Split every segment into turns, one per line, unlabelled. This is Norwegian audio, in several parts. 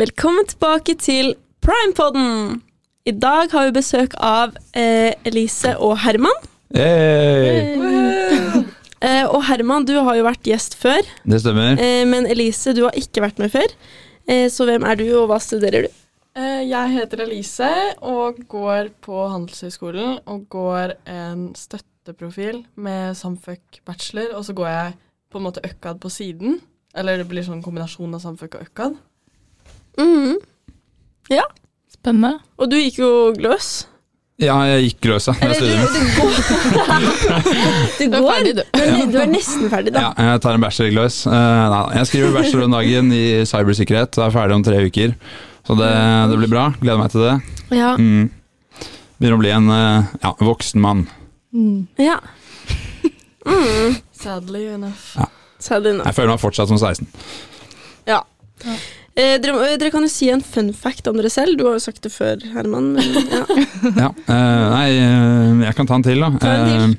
Velkommen tilbake til Primepodden! I dag har vi besøk av eh, Elise og Herman.
Hey.
Eh, og Herman, du har jo vært gjest før,
Det stemmer.
eh, men Elise, du har ikke vært med før. Eh, så hvem er du, og hva studerer du?
Eh, Jeg heter Elise og går på Handelshøyskolen og går en støtteprofil med Samfuck bachelor, og så går jeg på en måte Økkad på siden. Eller det blir sånn kombinasjon av Samfuck og Økkad.
Mm-hmm. Ja.
Spennende.
Og du gikk jo gløss.
Ja, jeg gikk løs da jeg studerer.
Du
er ferdig,
går,
du.
men du er nesten ferdig, da.
Ja, jeg tar en bachelor i gløs. Eh, nei, da, jeg skriver bachelor om dagen i cybersikkerhet. Jeg er ferdig om tre uker. Så det, det blir bra. Gleder meg til det.
Ja.
Mm. Begynner å bli en eh, ja, voksen mann.
ja. Mm.
Sadly enough.
Sad enough.
Jeg føler meg fortsatt som 16.
Ja. Eh, dere, eh, dere kan jo si en fun fact om dere selv. Du har jo sagt det før, Herman. Men, ja.
Ja, eh, nei, eh, jeg kan ta en til, da.
Ta en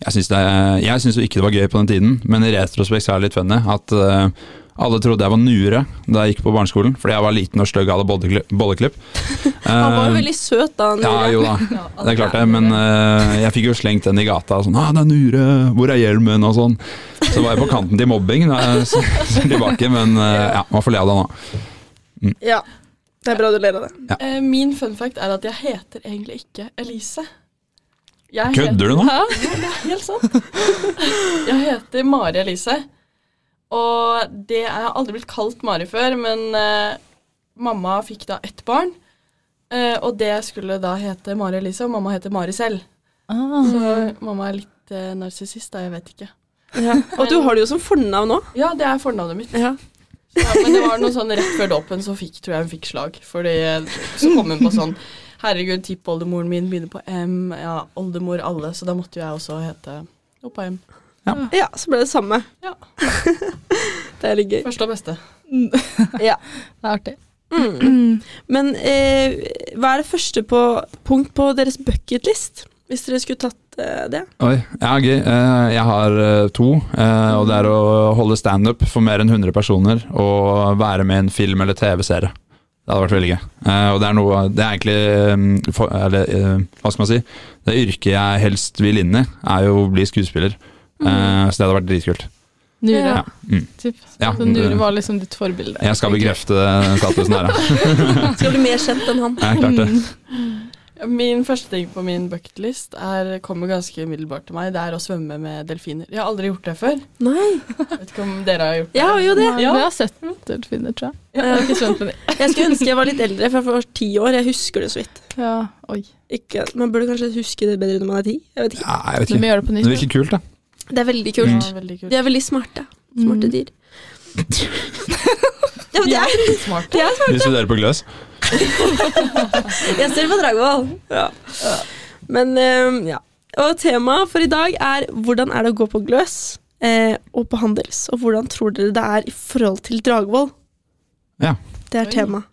Eh, jeg syns det er- jeg syns jo ikke det var gøy på den tiden, men i retrospekt så er det litt funny at eh, alle trodde jeg var nure da jeg gikk på barneskolen, fordi jeg var liten og stygg og hadde bolleklipp- bolleklipp.
Han var jo
Eh,
veldig søt da. Han,
Ja,
gjorde det.
jo da.
Ja,
Det er klart det, men eh, jeg fikk jo slengt den i gata og sånn ah, 'Det er Nure, hvor er hjelmen?' og sånn. Så var jeg på kanten til mobbing da jeg s- ser tilbake, men eh, ja, man får le av det nå.
ja. Det er bra du ler av det.
Eh, Min fun fact er at jeg heter egentlig ikke Elise. Jeg
Kødder du nå?
Helt sant. Jeg heter Mari Elise, og det jeg har aldri blitt kalt Mari før, men eh, mamma fikk da ett barn, eh, og det skulle da hete Mari Elise, og mamma heter Mari selv.
Ah.
Så mamma er litt uh, narsissist, da, jeg vet ikke.
Og du har det jo som fornavn òg.
Ja, det er fornavnet mitt.
Ja.
Ja, men det var noe sånn rett før dåpen, så fikk, tror jeg hun fikk slag. Fordi eh, så kom hun på sånn Herregud, tippoldemoren min begynner på M. Ja, oldemor alle, så da måtte jo jeg også hete noe på M.
ja, så ble det samme.
Ja.
det er litt gøy.
Første og beste.
Ja.
Det er artig.
Mm.
Mm.
Men eh, hva er det første på, punkt på deres bucketlist? Hvis dere skulle tatt eh, det?
Oi, ja, gøy. Eh, jeg har eh, to, eh, og det er å holde standup for mer enn 100 personer og være med i en film eller TV-serie. Det hadde vært veldig gøy. Eh, og det er noe Det er egentlig mm, for, Eller eh, hva skal man si? Det yrket jeg helst vil inn i, er jo å bli skuespiller. Eh, så det hadde vært dritkult.
Nure,
Ja.
Mm.
typ.
Ja,
så Nure
det-
var liksom ditt forbilde.
Jeg skal bekrefte den statusen her, ja.
Skal bli mer kjent enn han.
Jeg klarte det.
Min første ting på min bucketlist er- kommer ganske umiddelbart til meg. Det er å svømme med delfiner. Jeg har aldri gjort det før.
Nei,
Vet ikke om dere har gjort det.
jeg har jo det.
Ja.
Ja.
Jeg har sett delfiner, tror jeg.
Ja.
Jeg har ikke svømt med dem.
Eh, Jeg skulle ønske jeg var litt eldre, for jeg var ti år. Jeg husker det så vidt.
Ja, oi.
Ikke, man burde kanskje huske det bedre når man er ti. Jeg vet ikke.
Ja, jeg vet
Du må
ikke.
gjøre det på
Det
nytt.
virker kult, da.
Det er veldig
Ja,
Mm.
kult.
veldig kult.
De er veldig smarte. Smarte dyr. Ja, men det er,
litt smart.
det er smart.
Vi studerer på gløs.
Jeg ser på Dragvoll. Ja. Men eh, ja. Og temaet for i dag er hvordan er det å gå på Gløs eh, og på Handels, og hvordan tror dere det er i forhold til Dragvoll?
Ja.
Det er
Oi.
temaet.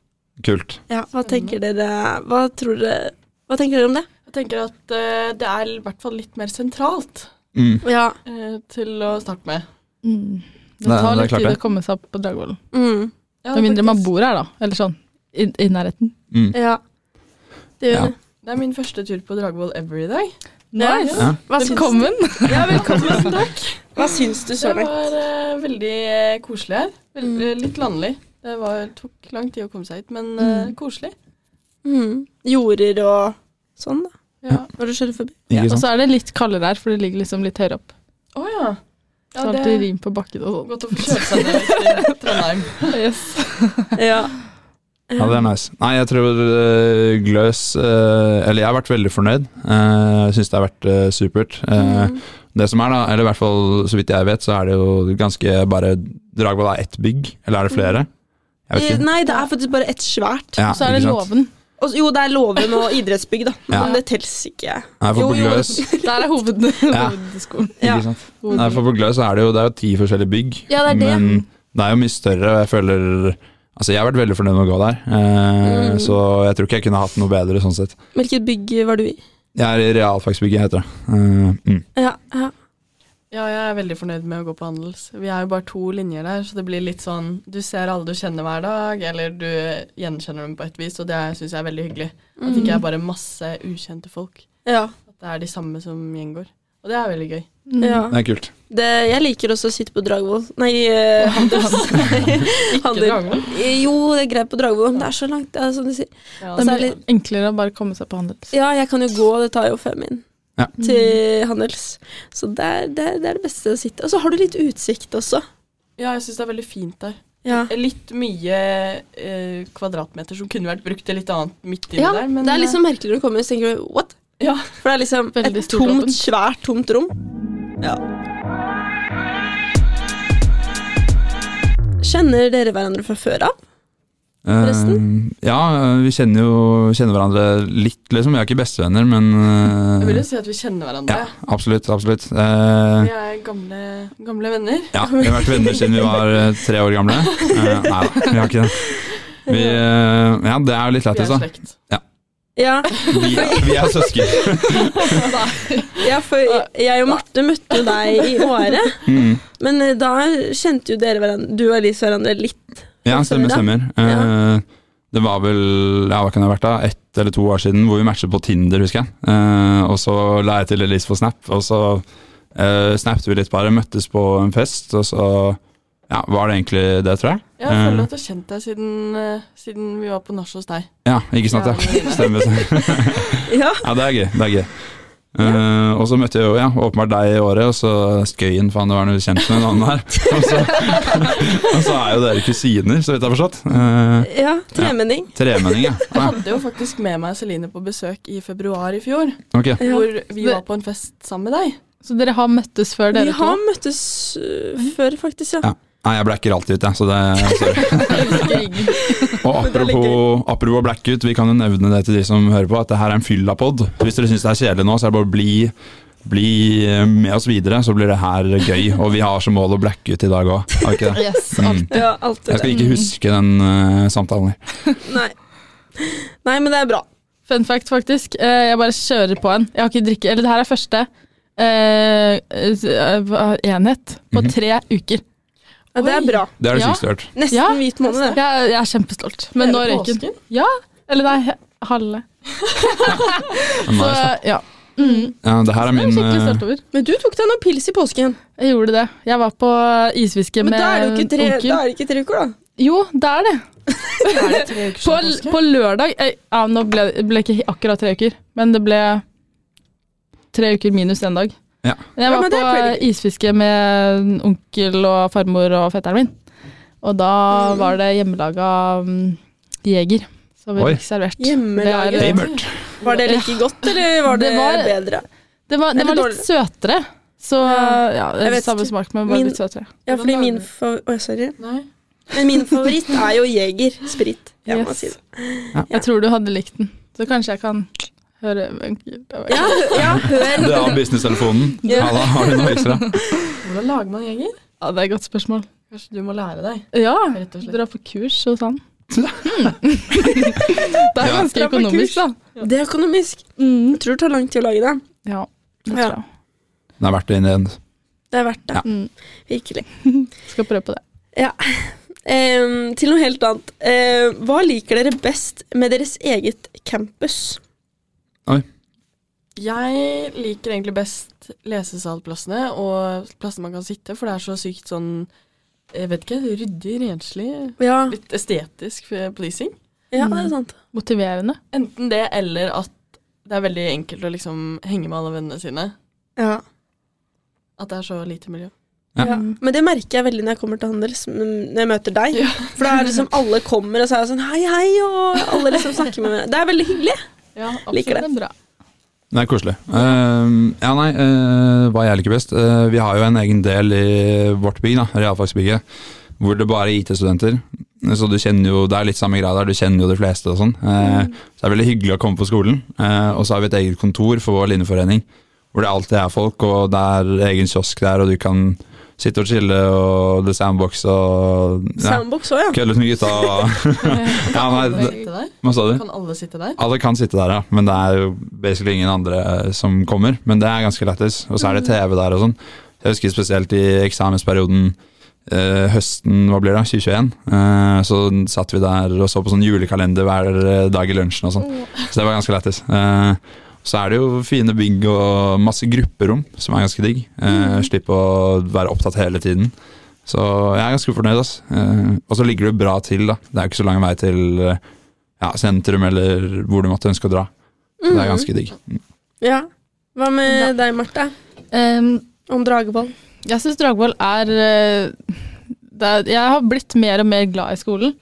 Kult.
Ja, hva tenker dere Hva tror dere Hva tenker dere om det?
Jeg tenker at eh, det er i hvert fall litt mer sentralt
Mm.
Ja.
eh, til å starte med.
Mm. Det
Nei, det
tar
er
litt
klart
tid
det.
å komme seg opp på Dragvollen.
Mm.
Ja,
Med mindre man
faktisk.
bor her, da. Eller sånn. I, i nærheten.
Mm.
ja. Det gjør
Ja.
det.
Det er min første tur på Dragvoll ever i dag.
Ja.
Nice.
Ja.
Hva syns
Velkommen.
Du? Ja, velkommen. Hva syns du
Det
så langt?
var eh, veldig eh, koselig her. Vel,
Mm.
eh, Litt landlig. Det var, tok lang tid å komme seg hit, men eh,
Mm.
koselig.
Mm. Jorder og sånn, da.
Ja.
Når du kjører forbi.
Ikke
Og
sant?
så er det litt kaldere her, for det ligger liksom litt høyere opp.
Å ja. ja.
Så er det
Det
alltid rim på bakken og sånn.
godt å få kjørt seg ned til Trondheim.
Yes.
Ja.
Ja, det er nice. Nei, jeg tror eh, Gløs eh, Eller jeg har vært veldig fornøyd. Eh, Jeg syns det har vært eh, supert. Eh,
Mm.
Det som er, da, eller i hvert fall så vidt jeg vet, så er det jo ganske bare Dragvoll er ett bygg, eller er det flere? Jeg vet
Eh,
ikke.
Nei, det er faktisk bare ett svært.
Ja,
Og så
ikke
er det
sant?
låven.
Og, jo, det er låven og idrettsbygg, da.
Ja.
Men det tels ikke.
Nei, for
Jo,
på
jo.
Gløs,
Der er hoved,
Ja.
hovedskolen.
Ja.
ikke sant? Nei, for på Gløs er det jo det er jo ti forskjellige bygg,
Ja, det er det.
men det er jo mye større, og jeg føler Altså, jeg har vært veldig fornøyd med å gå der, eh,
Mm.
så jeg tror ikke jeg kunne hatt noe bedre sånn sett.
Hvilket bygg var du i?
Jeg er i realfagsbygget, heter det. Eh, mm.
Ja, ja.
Ja, jeg er veldig fornøyd med å gå på handels. Vi er jo bare to linjer der, så det blir litt sånn Du ser alle du kjenner hver dag, eller du gjenkjenner dem på et vis, og det syns jeg er veldig hyggelig. At ikke er bare masse ukjente folk.
Mm. Ja.
At det er de samme som gjengår. Og det er veldig gøy.
Mm.
ja.
Det er kult.
Det, jeg liker også å sitte på Dragvoll. Nei, eh, Handels. Handel. Eh,
Dragvoll?
Jo, det er greit på Dragvoll, men det er så langt. Det er som du sier.
Ja,
Det
Det
er
blir
litt-
enklere å bare komme seg på handels.
Ja, jeg kan jo gå, det tar jo fem min
Ja.
til Handels. Så det er, det, er, det er det beste å sitte. Og så har du litt utsikt også.
ja jeg syns det er veldig fint der.
Ja.
Litt mye eh, kvadratmeter som kunne vært brukt til litt annet midt inni
Ja,
der, men eh,
det er liksom merkelig når du kommer og tenker du, what?
Ja.
For det er liksom
Veldig
et
stort
tomt,
åpent.
svært tomt rom. Ja. Kjenner dere hverandre fra før av? Forresten?
Eh, ja, vi kjenner jo kjenner hverandre litt, liksom. Vi er ikke bestevenner, men eh,
Jeg vil jo si at vi kjenner hverandre.
Ja, absolutt. absolutt. Eh,
Vi er gamle, gamle venner.
Ja, vi har vært venner siden vi var eh, tre år gamle. Eh, nei da, vi har ikke det. Vi, eh, ja, det er jo litt
Vi
lættis,
er
da.
slekt.
Ja,
Vi, vi er søsken.
ja for jeg og Marte møtte jo deg i Åre.
Mm.
Men eh, da kjente jo dere hverandre, du og Elise hverandre litt.
Ja, stemmer, stemmer. Eh, det var vel ja, hva kan det ha vært da, ett eller to år siden hvor vi matchet på Tinder, husker jeg. Eh, og så la jeg til Elise på Snap, og så uh, snappet vi litt bare, møttes på en fest, og så ja, var det egentlig det, tror jeg.
Ja, jeg
Eh,
føler at jeg har kjent deg siden, eh, siden vi var på nach hos deg.
ja, ikke sant, ja. Stemmer. stemmer.
Ja.
Ja, det er gøy. det er gøy. Eh, og så møtte jeg jo ja, åpenbart deg i året, og så Skøyen, faen, det var noe kjent med en annen her. Og så, og så er jo dere kusiner, så vidt jeg har forstått. Eh,
ja tremenning.
tremenning, ja.
Jeg
Ah,
hadde jo faktisk med meg Celine på besøk i februar i fjor,
ok.
Ja.
hvor vi var på en fest sammen med deg.
Så dere har møttes før,
Vi
dere to?
har møttes øh, før, faktisk, ja.
Ja. Nei, jeg blacker alltid ut, jeg. Så det, sorry.
Men
Og
det er litt
apropos, apropos black ut, vi kan jo nevne det til de som hører på, at det her er en fyllapod. Hvis dere syns det er kjedelig nå, så er det bare å bli, bli eh, med oss videre, så blir det her gøy. Og vi har som mål å blacke ut i dag òg, har vi ikke det?
Yes,
Mm.
alt.
Ja, alltid
Jeg
det.
skal ikke huske den eh, samtalen. her.
Nei. Nei, men det er bra.
Fun fact, faktisk. Eh, Jeg bare kjører på en. Jeg har ikke drikke, eller det her er første eh, eh, enhet på
Mhm.
tre uker.
Ja, det er
Oi.
bra.
Det er det
Ja.
sykeste jeg har hørt.
Nesten
Ja.
hvit måned, det.
Jeg, jeg er kjempestolt. Men nå
Hele
røyker den.
påsken.
Eller nei, he- halve.
Men
Så
nice, da.
ja. Mm.
Ja, det her er
Jeg er
min
skikkelig
eh,
stolt over.
Men du tok deg noen pils i påsken.
Jeg gjorde det. Jeg var på isfiske
Men
med
da er det jo ikke tre,
onkel.
da er det ikke tre uker, da.
Jo, det er det.
Er det tre uker
På,
siden påske?
på lørdag eh, ja, Nå ble det ble ikke akkurat tre uker, men det ble tre uker minus en dag.
Ja.
Men
Ja,
Jeg var
men det er pretty
på isfiske med onkel og farmor og fetteren min. Og da var det hjemmelaga mm, jeger som vi
Oi.
fikk servert.
Hjemmelaget.
Det, er,
Babert.
Var det like godt, eller var det,
Det var-
bedre?
det, var, det
Eller
var litt søtere. Så
Ja.
ja,
Jeg vet
samme
ikke.
smak, men bare
Min-
litt søtere.
Ja,
Hvordan
fordi
lager
min,
du?
fa- Oi, sorry.
Nei.
Men min favoritt er jo Jeger sprit. Jeg må
Yes.
si det. Ja.
Jeg tror du hadde likt den. Så kanskje jeg kan høre
Ja, ja hør.
Det er business-telefonen.
Ja.
Ja, da har du noe ekstra.
Hvordan lager man gjenger?
Ja, det er et godt spørsmål.
Kanskje du må lære deg.
Ja,
Rett og slett.
dra på kurs hos han. det er
Ja.
ganske
Dra på kurs.
økonomisk, da.
Det er økonomisk. Jeg tror det tar lang tid å lage det.
Ja, det
Ja.
tror jeg.
Det er verdt det in the end.
Det er verdt det.
Ja.
Mm.
Virkelig.
Skal prøve på det.
Em, til noe helt annet. Eh, hva liker dere best med deres eget campus?
Jeg liker egentlig best lesesalplassene og plassene man kan sitte, for det er så sykt sånn jeg vet ikke, ryddig, renslig,
Ja,
litt estetisk eh, pleasing.
ja det er sant.
Motiverende.
Enten det, eller at det er veldig enkelt å liksom henge med alle vennene sine.
Ja.
At det er så lite miljø.
Ja.
Ja. Men det merker jeg veldig når jeg kommer til handels, m- når jeg møter deg.
Ja.
For da er det liksom alle kommer og så er jeg sånn hei, hei, og alle liksom snakker med meg. Det er veldig hyggelig.
Ja,
Liker det.
Så er bra.
Det er koselig. Eh, ja, nei, eh, hva jeg liker best? Eh, vi har jo en egen del i vårt bygg, da, realfagsbygget, hvor det bare er IT-studenter. Så du kjenner jo, det er litt samme greia der, du kjenner jo de fleste og sånn. Eh, Så det er veldig hyggelig å komme på skolen. Eh, og så har vi et eget kontor for vår linjeforening, hvor det alltid er folk, og det er egen kiosk der, og du kan sitte og chille, og det er sandbox og ja,
Soundbox òg, ja.
Kødde litt med gutta og ja,
Kan
nei,
alle
det-
sitte der?
Hva sa du?
Kan alle sitte der?
Alle kan sitte der, ja. Men det er jo basically ingen andre eh, som kommer. Men det er ganske lættis. Og så er det TV der og sånn. Jeg husker spesielt i eksamensperioden eh, høsten hva blir det, da, 2021. eh, så satt vi der og så på sånn julekalender hver dag i lunsjen og sånn. Så det var ganske lættis. Eh, så er det jo fine bygg og masse grupperom, som er ganske digg. Eh, Slipper å være opptatt hele tiden. Så jeg er ganske fornøyd. ass. Eh, og så ligger det bra til. da. Det er ikke så lang vei til eh, ja, sentrum eller hvor du måtte ønske å dra. Så det er ganske digg.
Mm. Ja. Hva med deg, Marte?
Ehm,
Om Dragvoll?
Jeg syns Dragvoll er eh, det er, Jeg har blitt mer og mer glad i skolen.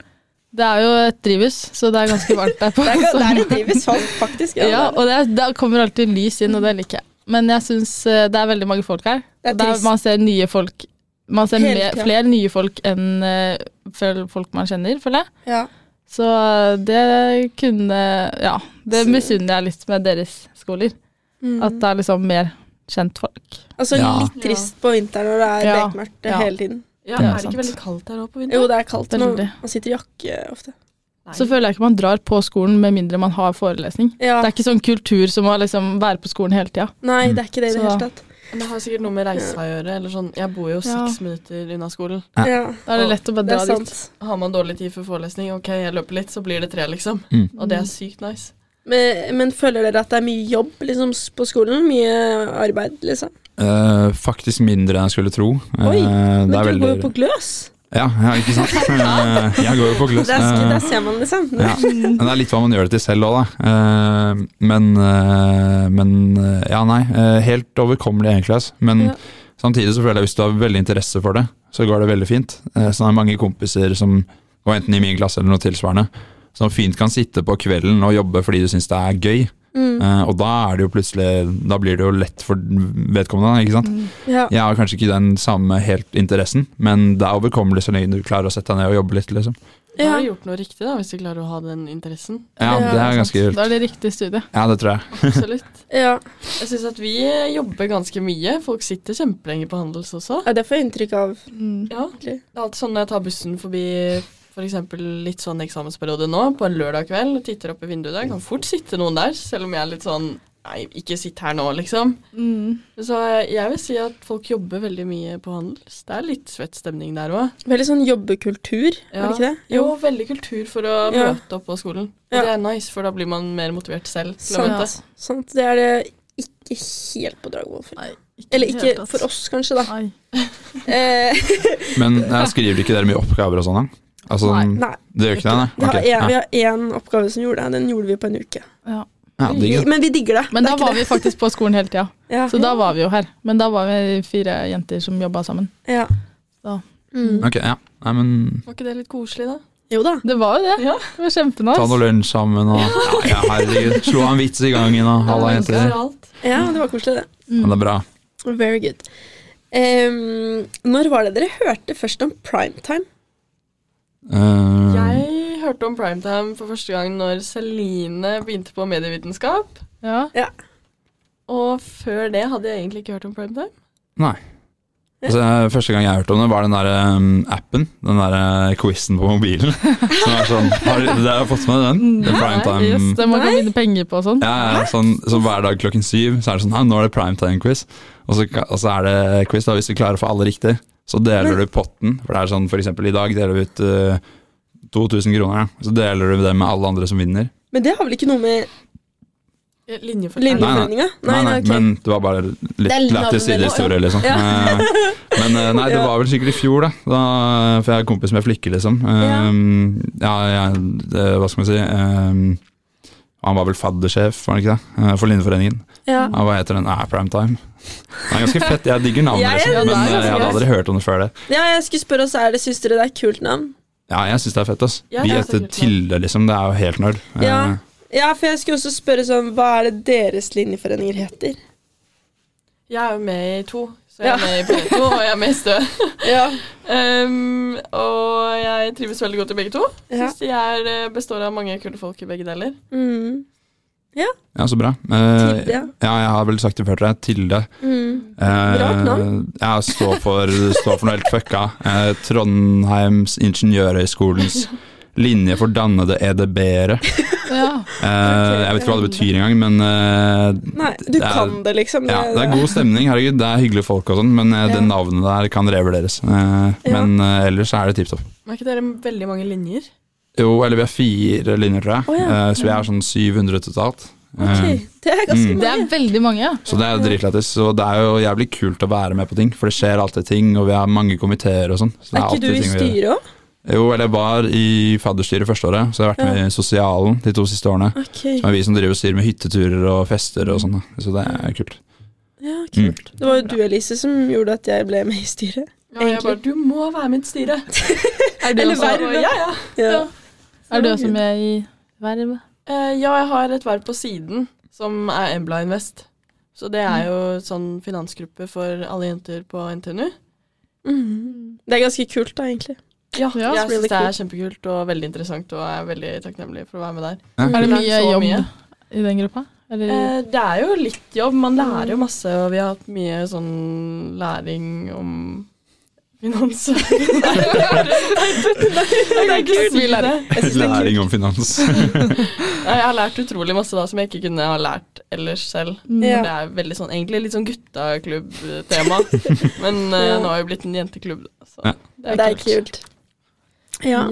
Det er jo et drivhus, så det er ganske varmt der på. sommeren.
drives sånn, faktisk.
ja, og det, der kommer alltid lys inn, og det liker jeg. Men jeg syns eh, det er veldig mange folk her.
Det er
Og der
trist.
man ser nye folk Man ser
Hele
mer,
tida.
flere nye folk enn eh, føl- folk man kjenner, føler jeg.
Ja.
Så eh, det kunne Ja, det
Så- Mm.
misunner jeg litt med deres skoler. At det er liksom mer kjentfolk.
Altså
Ja.
litt trist på vinteren når det er
Ja.
bekmørkt
Ja.
hele tiden.
Ja,
Det er
Er det
sant.
ikke veldig kaldt her òg på
Jo,
vinteren?
det er kaldt. nå.
Veldig.
Man sitter i jakke ofte.
Så føler jeg ikke man drar på skolen med mindre man har forelesning.
Ja.
Det er ikke sånn kultur som å liksom være på skolen hele tida.
Nei,
Mm.
det er ikke det i det
Så-
hele tatt.
Men det har sikkert noe med reisa å gjøre. Eller sånn. Jeg bor jo seks minutter unna skolen.
Ja.
Ja,
Da er det
Og
lett å bare
det
dra
er
dit.
sant.
Har man dårlig tid for forelesning, ok, jeg løper litt, så blir det tre, liksom.
Mm.
Og det er sykt nice.
Men, men føler dere at det er mye jobb liksom, s- på skolen? Mye arbeid, liksom?
Eh, faktisk mindre enn jeg skulle tro. Eh,
Oi,
det
Men
er
du
veldig...
går jo på gløs.
Ja, ja, ikke sant? Eh, jeg går jo på gløss.
Der, sk-
Eh,
der ser man, liksom.
Ja. Men det er litt hva man gjør det til selv òg, da. Eh, Men, eh, men eh, Ja, nei. eh, Helt overkommelig, egentlig. ass. Men
Ja.
samtidig så føler jeg hvis du har veldig interesse for det, så går det veldig fint. Eh, Så det er mange kompiser som går enten i min klasse eller noe tilsvarende, som fint kan sitte på kvelden og jobbe fordi de syns det er gøy.
Mm.
Eh, Og da er det jo plutselig Da blir det jo lett for vedkommende, ikke sant.
Mm.
Ja.
Jeg har kanskje ikke den samme helt interessen, men det er overkommelig så lenge du klarer å sette deg ned og jobbe litt, liksom.
Da
Ja.
har du gjort noe riktig, da, hvis du klarer å ha den interessen.
Ja,
Ja, det er ganske kult.
Da er det riktig studie.
Ja, det tror jeg.
Absolutt.
ja.
Jeg syns at vi jobber ganske mye. Folk sitter kjempelenge på Handels også.
ja, det får jeg inntrykk av.
Ja. Det er alltid sånn når jeg tar bussen forbi f.eks. For litt sånn eksamensperiode nå, på en lørdag kveld, og titter opp i vinduet der, kan fort sitte noen der, selv om jeg er litt sånn Nei, ikke sitt her nå, liksom.
Mm.
Så jeg vil si at folk jobber veldig mye på Handels. Det er litt svett stemning der òg.
Veldig sånn jobbekultur, er
Ja.
det ikke det?
Jo, veldig kultur for å
Ja.
møte opp på skolen.
Ja.
Det er nice, for da blir man mer motivert selv til å
Sant.
altså.
møte.
Sant. Det er det ikke helt på Dragvoll. føler jeg.
Nei,
Eller
i det altså. hele
ikke
tatt.
for oss, kanskje, da.
Ai.
Eh,
Men jeg skriver ikke dere mye oppgaver og sånn? da? Altså,
Nei.
nei.
Det gjør ikke det?
Vi
Nei?
har,
Ok,
en, vi
ja.
har én oppgave som gjorde det. Den gjorde vi på en uke.
Ja.
Ja, digg, da.
Men vi digger det.
Men
det
da
er
var
ikke
vi faktisk på skolen hele tida.
det. ja.
Så da var vi jo her. Men da var vi fire jenter som jobba sammen.
ja.
Da.
Mm.
Ok, ja. Nei, men
Var ikke det litt koselig, da?
Jo da.
Det var jo det.
Ja.
Det var
ta
kjempenice.
noe lunsj sammen og ja, ja, herregud. Slå av en vits i gangen og halla,
Ja,
jenter.
mennesker er alt.
Ja, det var koselig, det.
Mm.
Men det er bra.
Very good. Em, når var det dere hørte først om primetime?
Eh,
Jeg hørte om primetime for første gang når Celine begynte på medievitenskap.
Ja.
Og før det hadde jeg egentlig ikke hørt om primetime.
nei. Altså, jeg- første gang jeg hørte om det, var den der eh, appen. Den der eh, quizen på mobilen. Som er sånn, har dere dere har fått med den? Den prime time
Yes, det man kan vinne penger på og sånn.
Ja, ja, sånn, så hver dag klokken syv Så er det sånn, «Hæ, nå er det primetime-quiz og, så ka- og så er det quiz da, hvis du klarer å få alle riktig Så deler du potten For det er sånn, for eksempel i dag deler vi ut eh, 2000 kroner ja. Så deler du det med alle andre som vinner
Men det har vel ikke noe med
Eh, Linjefortelling.
Linje-
Linjeforeninga? Nei, nei, ok.
men det var bare litt
Det er navnet,
lættis sidehistorie, liksom.
Ja.
Eh, Men eh, nei, det
Ja.
var vel sikkert i fjor, da. da for jeg er kompis med flikke, liksom. Eh, Ja, jeg, det, hva skal man si eh, Han var vel faddersjef, var han ikke det? Eh, For Lindeforeningen.
Ja.
Ja, hva heter den? Nei, Primetime. Det er ganske fett. Jeg digger navnet,
Ja, ja,
liksom,
det er
men eh,
ganske
jeg hadde aldri hørt om det før det.
ja, jeg skulle spørre oss, er det syns dere det er et kult navn?
Ja, jeg syns det er fett, ass.
Ja,
Vi
det er
heter
sikkert
Tilde, liksom. Det er jo helt nerd. Eh,
Ja. Ja, for jeg skulle også spørre sånn, hva er det deres linjeforeninger heter?
Jeg er jo med i to. Så jeg
Ja.
er med i P2, og jeg er med i Stø.
Ja.
Ehm, og jeg trives veldig godt i begge to.
Ja.
Syns de er, eh, består av mange kule folk i begge deler.
Mm.
ja, så bra. Eh,
Tilde, ja.
Ja, jeg har vel sagt det før til deg. Tilde.
Mm.
Eh,
navn.
ja, stå for, stå for noe helt fucka. Eh, Trondheims ingeniørhøgskolens Linje for dannede edb-ere.
Ja.
Eh, jeg vet ikke hva det betyr engang, men eh,
Nei, du
Det er-
kan det, liksom.
ja, det er god stemning. Herregud, det er hyggelige folk og sånn, men eh, det
Ja.
navnet der kan revurderes. Eh,
Ja.
Men eh, ellers er det tipp topp.
Er ikke dere veldig mange linjer?
Jo, eller vi har fire linjer, tror jeg,
Å, ja.
Eh, så vi er sånn 700 totalt. Eh,
Ok, Det er ganske
Mm.
Det er
mange.
veldig mange, ja.
Så det er jo dritlættis, og det er jo jævlig kult å være med på ting, for det skjer alltid ting, og vi har mange komiteer og sånn. så det
Er ikke
alltid
du i
ting å gjøre.
styret òg?
Jo, eller jeg var i fadderstyret første året, så jeg har vært med i sosialen de to siste årene.
Ok,
Som er vi som driver og styrer med hytteturer og fester og sånn, da. så det er kult. Mm.
ja, kult. Det var jo du, Elise, som gjorde at jeg ble med i styret.
Ja, jeg
Egentlig.
bare Du må være med i et styre!
Er du,
Eller
også,
verv.
Ja, ja.
Ja.
er du også med i verv?
Eh, ja, jeg har et verv på siden, som er Embla Invest. Så det er jo sånn finansgruppe for alle jenter på NTNU.
Mhm. Det er ganske kult, da, egentlig.
Ja,
Ja,
jeg
really
syns det er kjempekult og veldig interessant, og jeg er veldig takknemlig for å være med der.
Er det
Lært
mye
så
jobb
mye.
i den gruppa? Eller?
Mm.
Eh, det er jo litt jobb, man lærer jo masse, og vi har hatt mye sånn læring om finans. Nei, det er ikke
Vi lærer.
det. Jeg synes det er
Læring
kult.
om finans.
Ja, Jeg har lært utrolig masse da som jeg ikke kunne ha lært ellers selv.
Mm.
Ja.
Det er veldig sånn, egentlig litt sånn guttaklubb-tema, men eh,
Ja.
nå har vi blitt en jenteklubb, da, så
Ja.
Det er kult. Ja.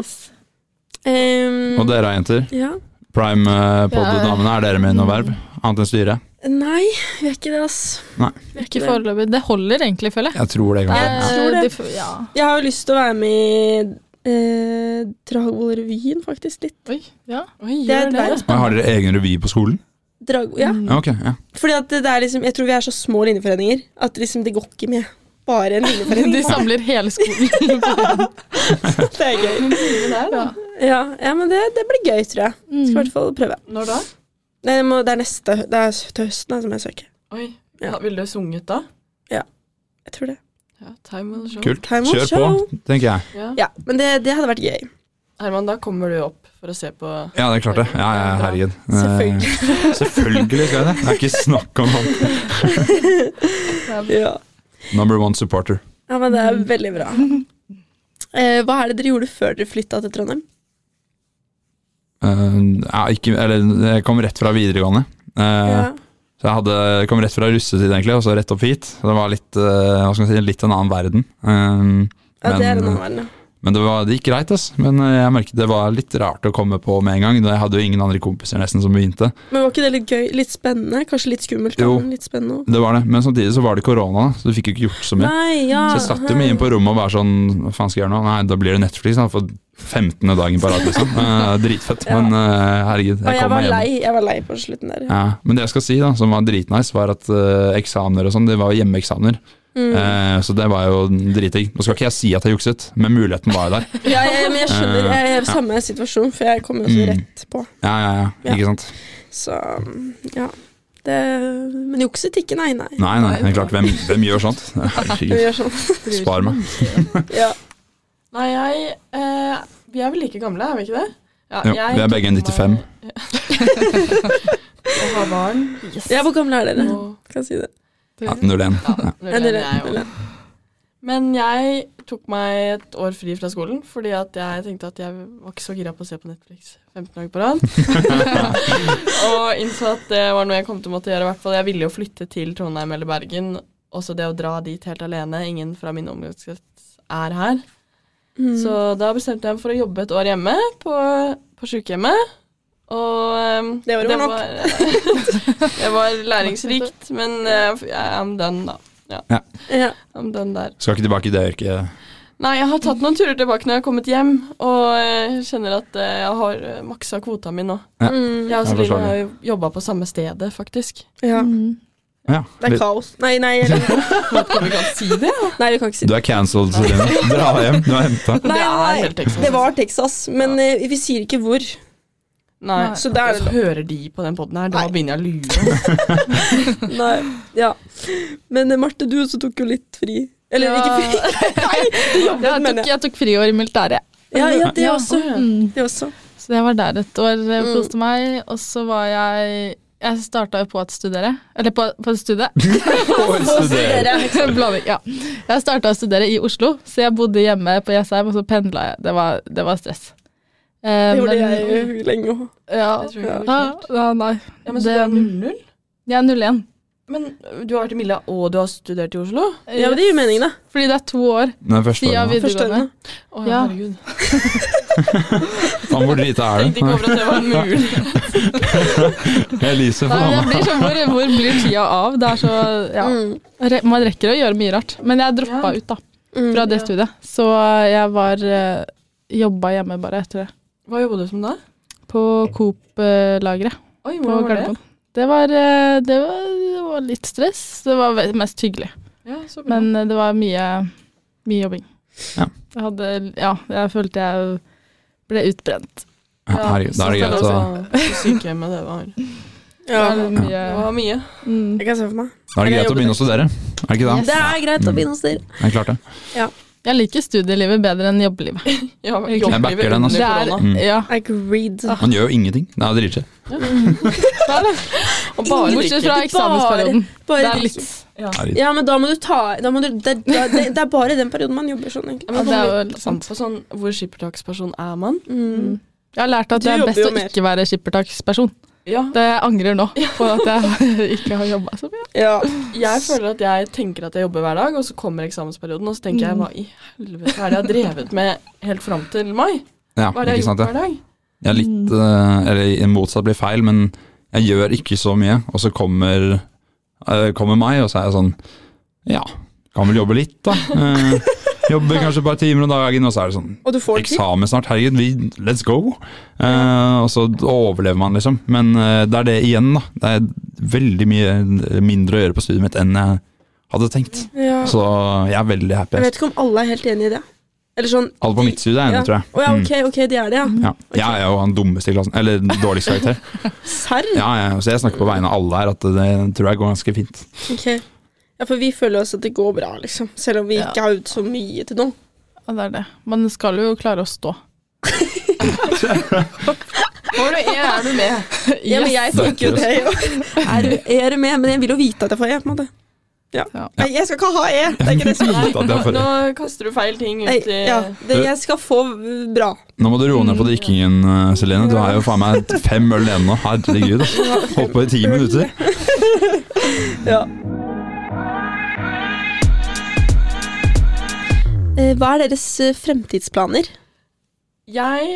Ehm,
Og dere jenter,
ja.
prime eh,
Ja.
pod-damene, er dere med i noe verv? Annet enn styret?
Nei, vi er ikke det, ass.
Nei.
Vi er
Ikke
ikke det.
foreløpig. Det holder egentlig, føler jeg.
Jeg tror det,
Det
kanskje.
er-
tror det.
de f- ja.
Jeg har jo lyst til å være med i eh, Dragvoll-revyen, faktisk. Litt.
Oi, ja.
Oi,
Det er
gjør
et
det? Mm.
verv.
Ja. Har dere egen revy på skolen?
Drag ja.
Mm.
Ja, ok. Ja.
Fordi at det er liksom, jeg tror vi er så små linjeforeninger at liksom det går ikke med bare en linjeforening.
De samler hele skolen.
det er gøy.
Det er det.
Ja.
Ja, ja men det, det blir gøy, tror jeg. Skal
Mm.
i hvert
Mm.
fall prøve.
Når da?
Nei, jeg må, det er neste det er til høsten da, som jeg søker.
Oi,
Ja.
ja, ville du sunget da?
Jeg tror det.
Ja, time will show.
Kult.
Time will
Kjør på,
show.
tenker jeg.
Ja.
Ja, men det, det hadde vært gøy.
Herman, da kommer du opp for å se på
Ja, det er klart det. Ja, ja, herregud. Eh,
Selvfølgelig.
Selvfølgelig skal jeg det. Det er ikke snakk om annet.
Ja.
Number one supporter.
ja, men det er veldig bra. Eh, hva er det dere gjorde før dere flytta til Trondheim?
Eh, ja, ikke, eller, jeg kom rett fra videregående. Eh,
Ja.
Så jeg hadde, jeg kom rett fra russetid, egentlig, og så rett opp hit. Så det var litt, eh, hva skal jeg si, litt en annen verden. Eh,
ja, det er en
men-
annen verden. ja.
Men det, var, det gikk greit, ass. Men eh, jeg merket det var litt rart å komme på med en gang. da Jeg hadde jo ingen andre kompiser nesten som begynte.
Men var ikke det litt gøy? Litt spennende? Kanskje litt skummelt? da,
Jo.
men Litt spennende. også.
Det var det, Men samtidig så var det korona, så du fikk jo ikke gjort så mye.
Nei, ja.
Så jeg satt jo mye inn på rommet og var sånn Hva faen skal jeg gjøre nå? Nei, da blir det Netflix da, for 15. dagen på rad, liksom. Eh, dritfett.
Ja.
Men eh, herregud,
Og
jeg
jeg
kom
var
meg Eh,
lei,
gjennom.
jeg var lei på slutten der.
Ja, men det jeg skal si, da, som var dritnice, var at eh, eksamener og sånn, det var jo hjemmeeksamener.
Mm.
Eh, så det var jo dritdigg. Nå skal ikke jeg si at jeg jukset, men muligheten var jo der.
Ja, jeg, men jeg skjønner. Jeg er i samme situasjon, for jeg kom jo også
eh, Mm.
rett på.
Ja, ja, ja.
Ja.
Ikke sant.
Så ja. Det, men jukset ikke, nei, nei.
Nei, nei, det er klart. Hvem, hvem gjør sånt?
Vi
Herregud,
gjør sånn.
spar meg.
Ja.
Nei, jeg eh, Vi er vel like gamle, er vi ikke det? Ja,
Jo, vi er
tok
begge
meg-
95.
Jeg har barn. Yes.
ja, hvor gamle er dere?
Og-
Kan jeg si det?
Ja, 01.
ja, nå
Ja,
er
dere,
det jeg også.
dere.
Men jeg tok meg et år fri fra skolen fordi at jeg tenkte at jeg var ikke så gira på å se på Netflix 15 dager på rad. og innså at det var noe jeg kom til å måtte gjøre. i hvert fall. Jeg ville jo flytte til Trondheim eller Bergen. Også det å dra dit helt alene. Ingen fra min omgangskrets er her.
Mm.
Så da bestemte jeg meg for å jobbe et år hjemme på, på sykehjemmet. Og ehm,
Det var jo nok.
var- det var læringsrikt, men eh, I'm done, da.
Ja.
I'm done der.
Skal ikke tilbake i det yrket.
Nei, jeg har tatt noen turer tilbake når jeg har kommet hjem, og eh, kjenner at eh, jeg har eh, maksa kvota mi nå.
Ja.
Mm.
Jeg
Jeg
og
forstår
Celine har jo jobba på samme stedet, faktisk.
ja.
Mm.
Ja,
Det er
litt-
kaos. Nei, nei, eller-
Kan vi ikke si det?
nei vi kan ikke si
du
det.
er cancelled, Celine. Dra hjem, du er henta.
Nei,
det
nei.
er helt Texas.
Det var Texas, men eh, vi sier ikke hvor.
Nei.
Nei.
Så det er
Så hører de på den poden her, da
Nei.
begynner jeg å lure.
Nei, ja. Men eh, Marte, du også tok jo litt fri. Eller
Ja.
ikke fri.
Jeg tok, jeg tok friår i militæret.
Ja, ja, det
Ja.
også.
Mm.
Det også.
Så jeg var der et år, eh,
Mm.
koste meg, og så var jeg Jeg starta jo på et studere. Eller på, på et studie. Blanding, ja. Jeg starta å studere i Oslo, så jeg bodde hjemme på Jessheim, og så pendla jeg. Det var, det var stress. Eh,
Det gjorde
men-
jeg jo lenge òg.
Ja,
Det tror jeg
ja,
var kult.
ja, nei.
Ja, men så du
Det-
er 00?
Jeg er 01.
Men du har vært i Milla, og du har studert i Oslo?
Ja, men det gir mening, da.
Fordi det er to år
Den er første
siden
året.
Første
videregående.
året.
Å,
Ja.
herregud. Jeg
Faen, hvor drita er du?
tenkte ikke over at det var mulig.
Elise,
Nei, men jeg
faen.
blir sånn, hvor, hvor blir tida av? Det er så, ja.
Mm.
Re man rekker å gjøre mye rart. Men jeg droppa
Ja.
ut da,
Mm.
fra det
Ja.
studiet. Så jeg var eh, jobba hjemme bare etter det.
Hva jobba du som da?
På Coop-lageret
Oi,
på
hvordan var det?
Gardermoen. Det var, eh, det, var, det var litt stress. Det var ve- mest hyggelig.
Ja, så bra.
Men eh, det var mye, mye jobbing.
Ja.
Jeg hadde Ja, jeg følte jeg ble utbrent.
Herregud, da er det
så
greit å
også Sykehjemmet, det var
Ja.
Det er mye,
Det var mye.
mm.
Jeg kan se for meg.
Da er det greit å begynne å studere. Er det ikke det?
Yes. Mm.
Det er greit å begynne hos dere.
Jeg klarte det.
Jeg liker studielivet bedre enn jobbelivet.
Ja,
Jeg
jobber
backer
vi
den,
under
altså.
Det er,
korona.
Mm.
ja,
Agreed.
Man gjør jo ingenting. Det er dritskjedd.
Og bare
Bortsett fra
drikker.
eksamensperioden. Det
Bare
er
litt.
litt
Ja.
Ja, men da må du ta da må du, det, da- det, det er bare den perioden man jobber sånn, egentlig.
Ja, men
Ja, det er jo
kommer litt
sant.
an på sånn, hvor skippertaksperson er man?
Mm.
Jeg har lært at
Du
det er
jobber
best
jo
å
mer.
ikke være skippertaksperson.
Ja,
Det jeg angrer nå på at jeg ikke har jobba så mye.
Ja.
jeg føler at jeg tenker at jeg jobber hver dag, og så kommer eksamensperioden, og så tenker
Mm.
jeg hva i helvete er det jeg har drevet med helt fram til mai?
Ja,
Hva er det
ikke
jeg har
sant
gjort
det?
hver dag?
Jeg er litt
Mm.
eh, Eller motsatt blir feil, men jeg gjør ikke så mye. Og så kommer, eh, kommer meg, og så er jeg sånn Ja, kan vel jobbe litt, da. Eh, jobber kanskje et par timer om dagen, og så er det sånn
Og du får det til.
Eksamen snart, herregud, vi, let's go! Eh, og så overlever man, liksom. Men eh, det er det igjen, da. Det er veldig mye mindre å gjøre på studiet mitt enn jeg hadde tenkt.
Ja.
Så jeg er veldig happy.
Jeg vet ikke om alle er helt enig i det. Eller sånn
Alle på mitt studie er
ja.
enige, tror jeg.
Å ja,
Mm.
ok, ok, de er det, ja.
Ja. Jeg er jo han dummeste i klassen. Eller dårligst karakter.
Serr?
Ja, ja, så jeg snakker på vegne av alle her, at det tror jeg går ganske fint.
Ok. Ja, for vi føler oss at det går bra, liksom. Selv om vi
Ja.
ikke har ut så mye til nå.
Ja, det er det. Man skal jo klare å stå.
Hvor er du, er du med?
Ja, men jeg
Det er
tenker jo det, jo. Er du er du med? Men jeg vil jo vite at jeg får E, på en måte. Ja.
Ja.
Nei, jeg skal ikke ha E! Det er ikke det som er
Vite at jeg
Nå,
får-
nå kaster du feil ting
Nei,
ut i
ja, det, Jeg skal få bra.
Nå må du roe ned på drikkingen, eh, Celine. Du har jo faen meg fem øl igjen nå. Herregud. ass. Holdt på i ti minutter.
Ja. Eh, Hva er deres eh, fremtidsplaner?
Jeg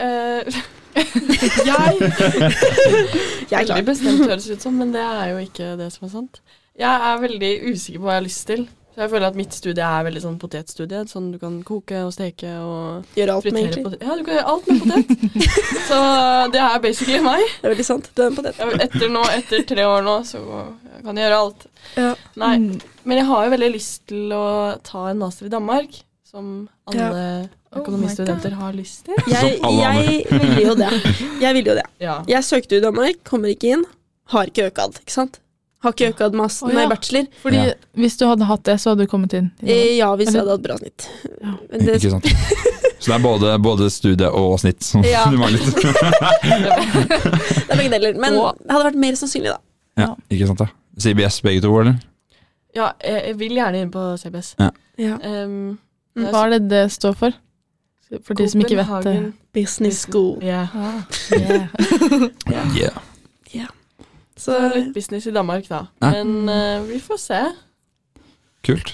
eh, Jeg
Jeg er
Veldig
klar.
bestemt høres ut som, men det er jo ikke det som er sant. Jeg er veldig usikker på hva jeg har lyst til. Så jeg føler at mitt studie er veldig sånn potetstudie. Sånn du kan koke og steke og
Gjør alt med,
fritere
egentlig.
potet. Ja, du kan gjøre alt med potet. Så det er basically meg.
Det er veldig sant. Det er på det.
Jeg- Etter nå, etter tre år nå, så kan jeg gjøre alt.
Ja.
Nei,
Mm.
men jeg har jo veldig lyst til å ta en master i Danmark, som alle
Oh my
økonomistudenter har lyst til.
Jeg,
Som alle
jeg ville jo det. Jeg ville jo det.
Ja.
Jeg søkte jo Danmark, kommer ikke inn. Har ikke økad, ikke sant? Har ikke økad mas
Å, ja.
nei, bachelor.
Fordi
Ja.
hvis du hadde hatt det, så hadde du kommet inn. i
Eh, Ja, hvis jeg
Eller-
hadde hatt bra snitt. Men det,
Ikke sant. Så det er både, både studie og snitt som
Ja.
du manglet.
det er begge deler. Men
Og-
det hadde vært mer sannsynlig, da.
Ja, ikke sant da. CBS begge to, eller?
ja, jeg jeg vil gjerne inn på CBS.
Ja.
Um,
Danmark. Hva er det det står for? For Mm, de som ikke vet eh. det.
Copenhagen.
Business school.
Ja.
Ah,
Yeah.
Så
Det er litt business i Danmark, da.
Ja.
Men eh, vi får se.
Kult.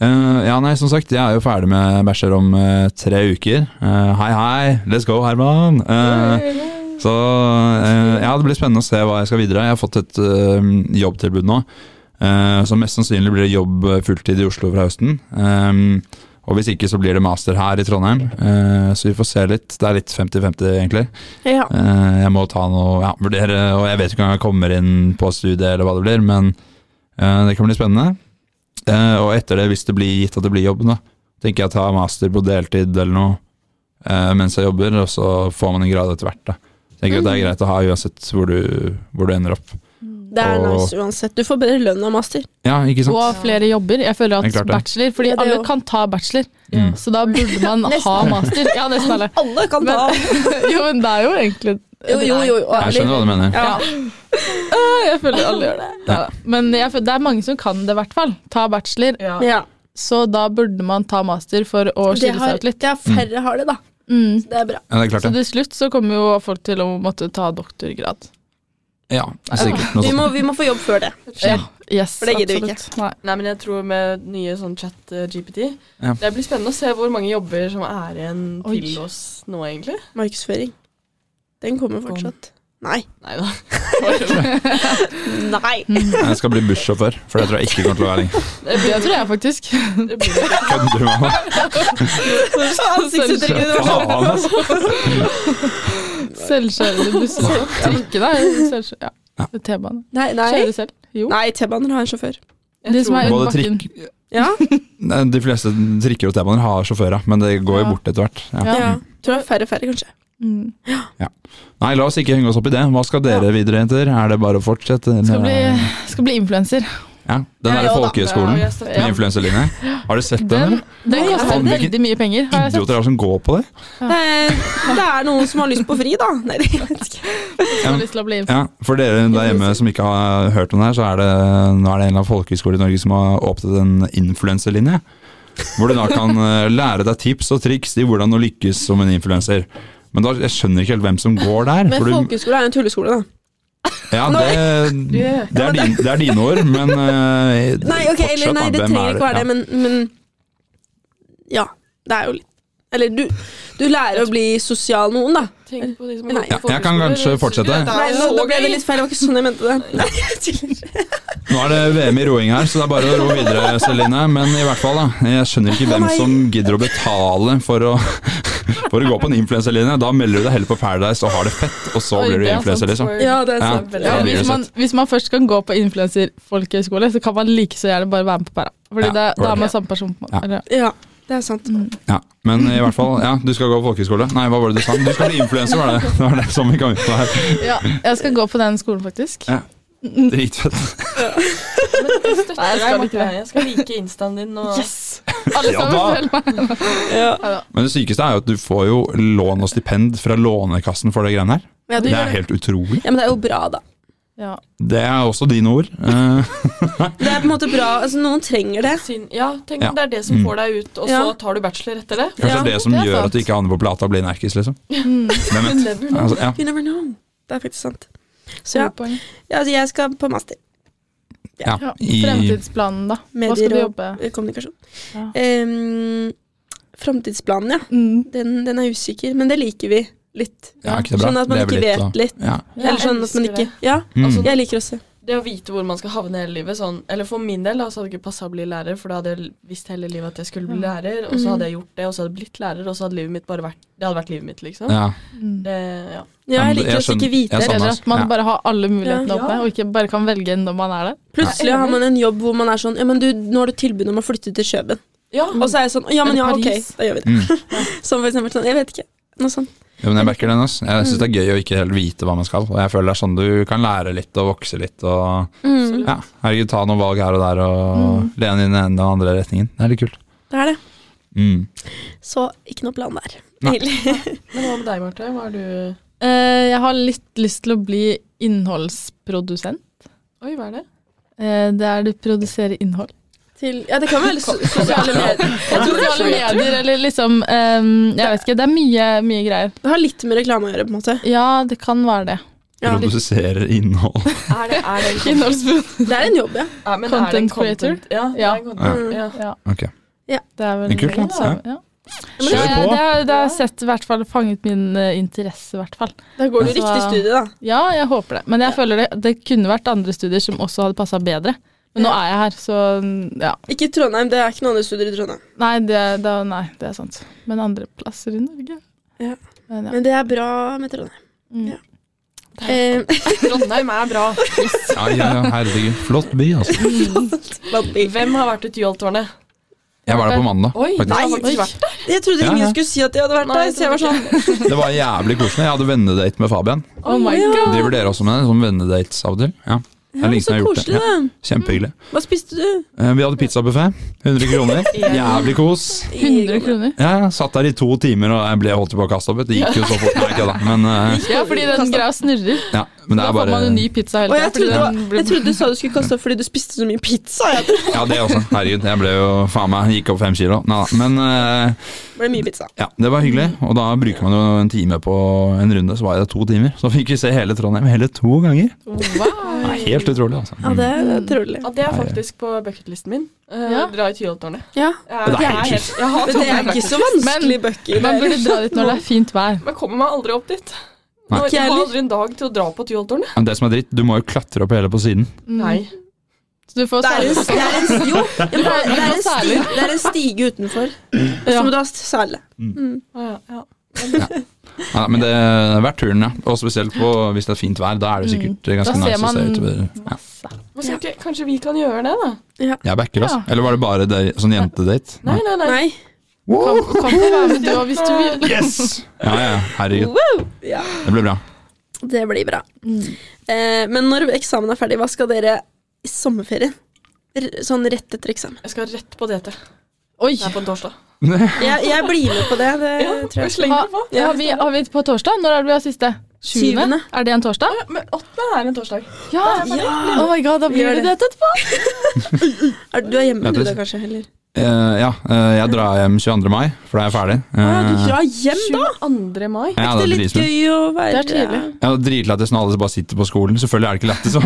Eh, ja, nei, som sagt, jeg er jo ferdig med bachelor om eh, tre uker. Eh, hei, hei! Let's go, Herman! Eh, så eh, ja, det blir spennende å se hva jeg skal videre. Jeg har fått et eh, jobbtilbud nå. eh, så mest sannsynlig blir det jobb eh, fulltid i Oslo fra høsten. Eh, og hvis ikke, så blir det master her i Trondheim. Eh, så vi får se litt. Det er litt 50-50, egentlig.
ja.
Eh, jeg må ta noe ja, vurdere, og jeg vet ikke om jeg kommer inn på studiet eller hva det blir, men eh, det kan bli spennende. Eh, og etter det, hvis det blir gitt at det blir jobb, da, tenker jeg å ta master på deltid eller noe eh, mens jeg jobber, og så får man en grad etter hvert, da. Tenker
Mm.
at det er greit å ha uansett hvor du, hvor du ender opp.
Det er
Og-
nice uansett. Du får bedre lønn av master.
Ja, ikke sant?
Og flere jobber. Jeg føler
Det er
at
klart det.
bachelor Fordi
Ja, det
alle
også.
kan ta bachelor,
Mm.
så da burde man
Nesten
ha master. Ja, nesten alle.
Alle kan
Men-
ta
Jo, men det er jo egentlig
Jo, jo, jo. og
Jeg
ærlig.
skjønner hva du mener.
Ja.
Ah, Jeg føler alle gjør det.
Ja.
Neida. Men jeg føler, det er mange som kan det, i hvert fall. Ta bachelor.
Ja.
Ja.
Så da burde man ta master for å
Det
skille
har,
seg ut litt.
ja, færre har det, da.
Mm.
Det er bra.
Ja, det er klart
Så
det.
til slutt så kommer jo folk til å måtte ta doktorgrad.
Ja, det er sikkert noe
Vi
sånt.
må, vi må få jobb før det.
Ja, yes,
For det gidder vi
absolutt. Nei.
Nei, men jeg tror med nye sånn chat-GPT
Ja.
Det blir spennende å se hvor mange jobber som er igjen
Oi.
til oss nå, egentlig.
Markedsføring. Den kommer fortsatt. Nei.
Nei da. Det
Nei!
Jeg skal bli bussjåfør, for det tror jeg ikke kommer til å være lenge.
Det tror jeg faktisk.
det blir det.
Kødder du med meg?
Ansiktsuttrykket ditt var
Faen, altså. ass.
Selvkjørende busser. Trikkene er jo selvkjø- ja. T-bane.
Nei, nei.
Kjøre selv. Jo.
nei T-baner har en sjåfør.
Jeg
De som
tror-
er under
Både
bakken.
trikk
Ja.
Nei, De fleste trikker og T-baner har sjåfører, men det går jo
Ja.
bort etter hvert. Ja.
ja. Tror det er færre og færre, kanskje.
Mm.
Nei, la oss ikke henge oss opp i det. Hva skal dere videre, jenter? Er det bare å fortsette? eller-
Skal bli,
Eh,
skal bli influenser.
Ja, Den
Ja,
derre
ja da.
folkehøyskolen
Ja, jeg støtter.
med influenselinje. Har dere sett den?
Den,
eller?
den
Nei,
koster
faen, hvilken
veldig mye penger, har jeg sett.
Idioter er det som går på det.
Eh, Det er noen som har lyst på fri, da. Nei, det vet jeg ikke.
Jeg har lyst til å bli influenser.
Ja, For dere der hjemme som ikke har hørt om det her, så er det, nå er det en eller annen folkehøyskole i Norge som har åpnet en influenselinje. Hvor du da kan eh, lære deg tips og triks i hvordan å lykkes som en influenser. Men da, jeg skjønner ikke helt hvem som går der.
Men
for du-
folkehøyskole er en tulleskole, da.
Ja, det, det, er din, det er dine ord, men eh,
Nei, ok,
fortsatt,
eller, nei
da,
det
hvem
trenger
er
ikke være det, men, men Ja, det er jo litt Eller du, du lærer å bli sosial med noen, da.
Tenk på de som
Nei.
går på
Ja, jeg kan kanskje
folkehøyskoler.
fortsette.
Det er
Nei, nå,
så
nå ble
gøy.
det litt feil. Det var ikke sånn jeg mente det. Nei, jeg tuller.
Nå er det VM i roing her, så det er bare å ro videre, Celine. Men i hvert fall, da. Jeg skjønner ikke hvem
Å, nei.
som gidder å betale for å, for å gå på en influenserlinje. Da melder du deg heller på Paradise og har det fett, og så
Oi,
blir du
det er
influenser,
sant.
liksom.
Ja, det er
Ja,
sant.
ja,
Ja,
det blir
hvis,
det
man,
sett.
hvis man først kan gå på influenserfolkehøyskole, så kan man like så gjerne bare være med på Pæra.
Ja,
Fordi det, da
var
er
det.
man samme person. på en måte. Eller-
ja, det er sant.
Ja, men i hvert fall, ja, du skal gå på folkehøyskole. Nei, hva var det du sa? Du skal bli influenser, var det. Det var det som vi kom ut på her.
Ja, jeg skal gå på den skolen, faktisk.
Ja. Dritfett.
Jeg støtter
Nei, jeg skal
deg,
ikke det.
Marte. Jeg skal like instaen din og
Yes! Alle
Ja
sammen
da.
følger meg.
Ja,
Men det sykeste er jo at du får jo lån og stipend fra Lånekassen for det greiene her.
ja, du,
Det
ja,
er helt utrolig.
men det er jo bra, da.
Ja.
Det er også dine ord. Eh,
Det er på en måte bra. Altså, noen trenger det.
Syn- Ja, tenk
Ja.
det er det som
Mm.
får deg ut, og
Ja.
så tar du bachelor etter det.
Kanskje
Ja,
det er det som
det er
gjør
sant.
at du ikke havner på plata og blir nerkis, liksom.
Mm.
Hvem vet?
You never know.
Altså, ja.
You never know. Det er faktisk sant. Så ja,
Gode poeng.
ja altså, jeg skal på master.
Ja,
Ja.
i,
Fremtidsplanen, da. Hva skal du
Medier og
jobbe
eh, kommunikasjon.
Ja.
Ehm, Framtidsplanen, ja.
mm.
Den, den er usikker, men det liker vi litt.
ja, ikke det bra?
Sånn at man
Leve
ikke
og-
vet litt.
Ja.
Ja,
Eller sånn at man
elsker
ikke
det.
Ja,
Mm.
jeg liker også.
Det å vite hvor man skal havne hele livet sånn, Eller for min del da, så hadde det ikke passa å bli lærer, for da hadde jeg visst hele livet at jeg skulle bli lærer, og så hadde jeg gjort det, og så hadde jeg blitt lærer, og så hadde livet mitt bare vært Det hadde vært livet mitt, liksom.
ja.
Det, ja.
Ja,
men
jeg liker
jeg
også ikke
skjønner-
vite
jeg
det.
skjønner.
Bedre at man
Ja.
bare har alle mulighetene
Ja.
åpne, og ikke bare kan velge når man er der.
Plutselig har man en jobb hvor man er sånn Ja, men du, nå har du tilbud om å flytte til Kjøben.
ja. altså,
Og så er jeg sånn Ja, men
Eller
ja, ok,
Paris.
da gjør vi det.
Mm.
Som for eksempel sånn Jeg vet ikke. Noe sånt.
ja, men jeg backer den. ass. Jeg syns det er gøy å ikke helt vite hva man skal. Og jeg føler det er sånn du kan lære litt og vokse litt og
Mm.
ja, herregud, ta noen valg her og der og lene inn i den ene og andre retningen. Det er litt kult.
Det er det.
Mm.
Så ikke noe plan der.
Nei.
egentlig.
Men hva med deg, Marte? Hva er du
Eh, jeg har litt lyst til å bli innholdsprodusent.
Oi, hva er det?
Eh, det er det å produsere innhold.
Til Ja, det kan være so- sosiale medier.
Jeg tror sosiale medier, eller liksom ehm, Jeg vet ikke, det er mye, mye greier.
Det har litt med reklame å gjøre, på en måte.
Ja, det kan være det.
Ja.
Produserer innhold.
Er det, er det en content,
Innholdsbud.
Det er en jobb, ja.
ja, men er det en
Content creator?
content? Ja. Det
Ja.
er en content. ja.
Ja,
Ok,
det er vel
Det er kult, da.
ja. Ja.
Kjør
Det,
på.
det, har- det har sett i hvert fall fanget min eh, interesse, i hvert fall.
Da går du
Altså-
riktig studie, da.
Ja, jeg håper det. Men jeg føler det, det kunne vært andre studier som også hadde passa bedre. Men nå
Ja.
er jeg her, så ja.
Ikke i Trondheim. Det er ikke noen andre studier i Trondheim.
Nei, det, da, nei, det er sant. Men andre plasser i Norge.
Ja.
Men ja.
Men det er bra med Trondheim.
Mm.
ja. Eh,
Trondheim er bra.
ja, ja, ja, herregud. Flott by, altså.
Hvem har vært ute i Jolltårnet?
Jeg var der på mandag.
Oi,
faktisk.
det har
Nei,
faktisk
oi.
vært der.
jeg trodde
Ja,
ingen
ja.
skulle si at de hadde vært
Nei,
der, så jeg var sånn
Det var jævlig koselig. Jeg hadde vennedate med Fabian.
Oh my
Ja.
god.
Driver dere også med det? Sånn vennedates, Abdel? Ja. Det er lenge
Så
siden jeg har gjort det.
koselig, da.
Kjempehyggelig.
Hva spiste du?
Eh, Vi hadde pizzabuffé. 100 kroner. Jævlig kos.
100 kroner.
Ja, jeg satt der i to timer og jeg ble holdt på å kaste opp. vet du. Det gikk jo så fort. Nei, ikke da. Men, eh,
Ja, fordi den greia snurrer.
ja, men det
Da
er
får
bare
man en ny pizza hele
Og jeg
tiden, fordi
trodde, det
den
var-
blir-
jeg trodde du sa du skulle kaste opp fordi du spiste så mye pizza. Jeg
Ja, det også. Herregud, jeg ble jo faen meg Gikk opp fem kilo. Nei da. Men eh,
ble mye pizza.
ja, det var hyggelig. Og da bruker man jo en time på en runde, så var jeg der to timer. Så fikk vi se hele Trondheim hele to ganger.
Wow.
Det er helt utrolig, altså.
Ja, det
Mm.
er utrolig.
Ja, det er faktisk på bucketlisten min. Eh,
Ja.
Dra i Tyholttårnet.
Ja.
Jeg,
Det er
jeg,
helt
helt- jeg
Men
har
det er ikke
faktisk.
så vanskelig, Bucky.
Man burde dra dit når det er fint vær.
Men kommer meg aldri opp dit.
Nei.
Jeg
Ikke jeg
har
heller.
aldri en dag til å dra på Tyholttårnet.
Men det som er dritt, du må jo klatre opp hele på siden.
Nei.
Så Mm. du får
Det er en, det er en, jo, ja, men det er, det er en, stige, det er en stige utenfor,
Ja.
så må du ha sele.
Å, Ja, ja.
Ja, men det er verdt turen, ja. Og spesielt på, hvis det er fint vær. Da er det sikkert
Mm. Da
ganske
ser
nice å se
man
utover. Ja.
masse.
Men så ikke- Kanskje vi kan gjøre det, da?
Jeg backer, altså. Eller var det bare dere- sånn jentedate?
Nei, nei, nei.
Nei.
Kom, kom til å være med du òg hvis du vil.
Yes! Ja, ja. Herregud.
Wow! Ja,
Det ble bra.
det blir bra.
Mm.
Eh, men når eksamen er ferdig, hva skal dere i sommerferien? R- Sånn rett etter eksamen.
Jeg skal rett på DT.
Oi!
Det er på en torsdag.
Jeg, jeg blir med på det. det tror
Jeg
jeg.
slenger det på.
Ha- har, vi, har vi på torsdag? Når er det vi har siste?
Syvende.
Er det en torsdag?
Men åttende er en torsdag.
Ja! Oh my god, da blir
Gjør
det
det.
det etterpå.
Er, du er hjemme
Vet
du
du-
da, kanskje? Heller.
Eh, ja, eh, jeg drar hjem 22. mai, for da er jeg ferdig. Uh,
Å ja, du drar hjem da?
22. mai.
ja,
Det
det
er
er
litt
dritfint.
gøy å være
Det er trivelig.
Ja, Dritlættis når alle bare sitter på skolen. Selvfølgelig er det ikke lættis.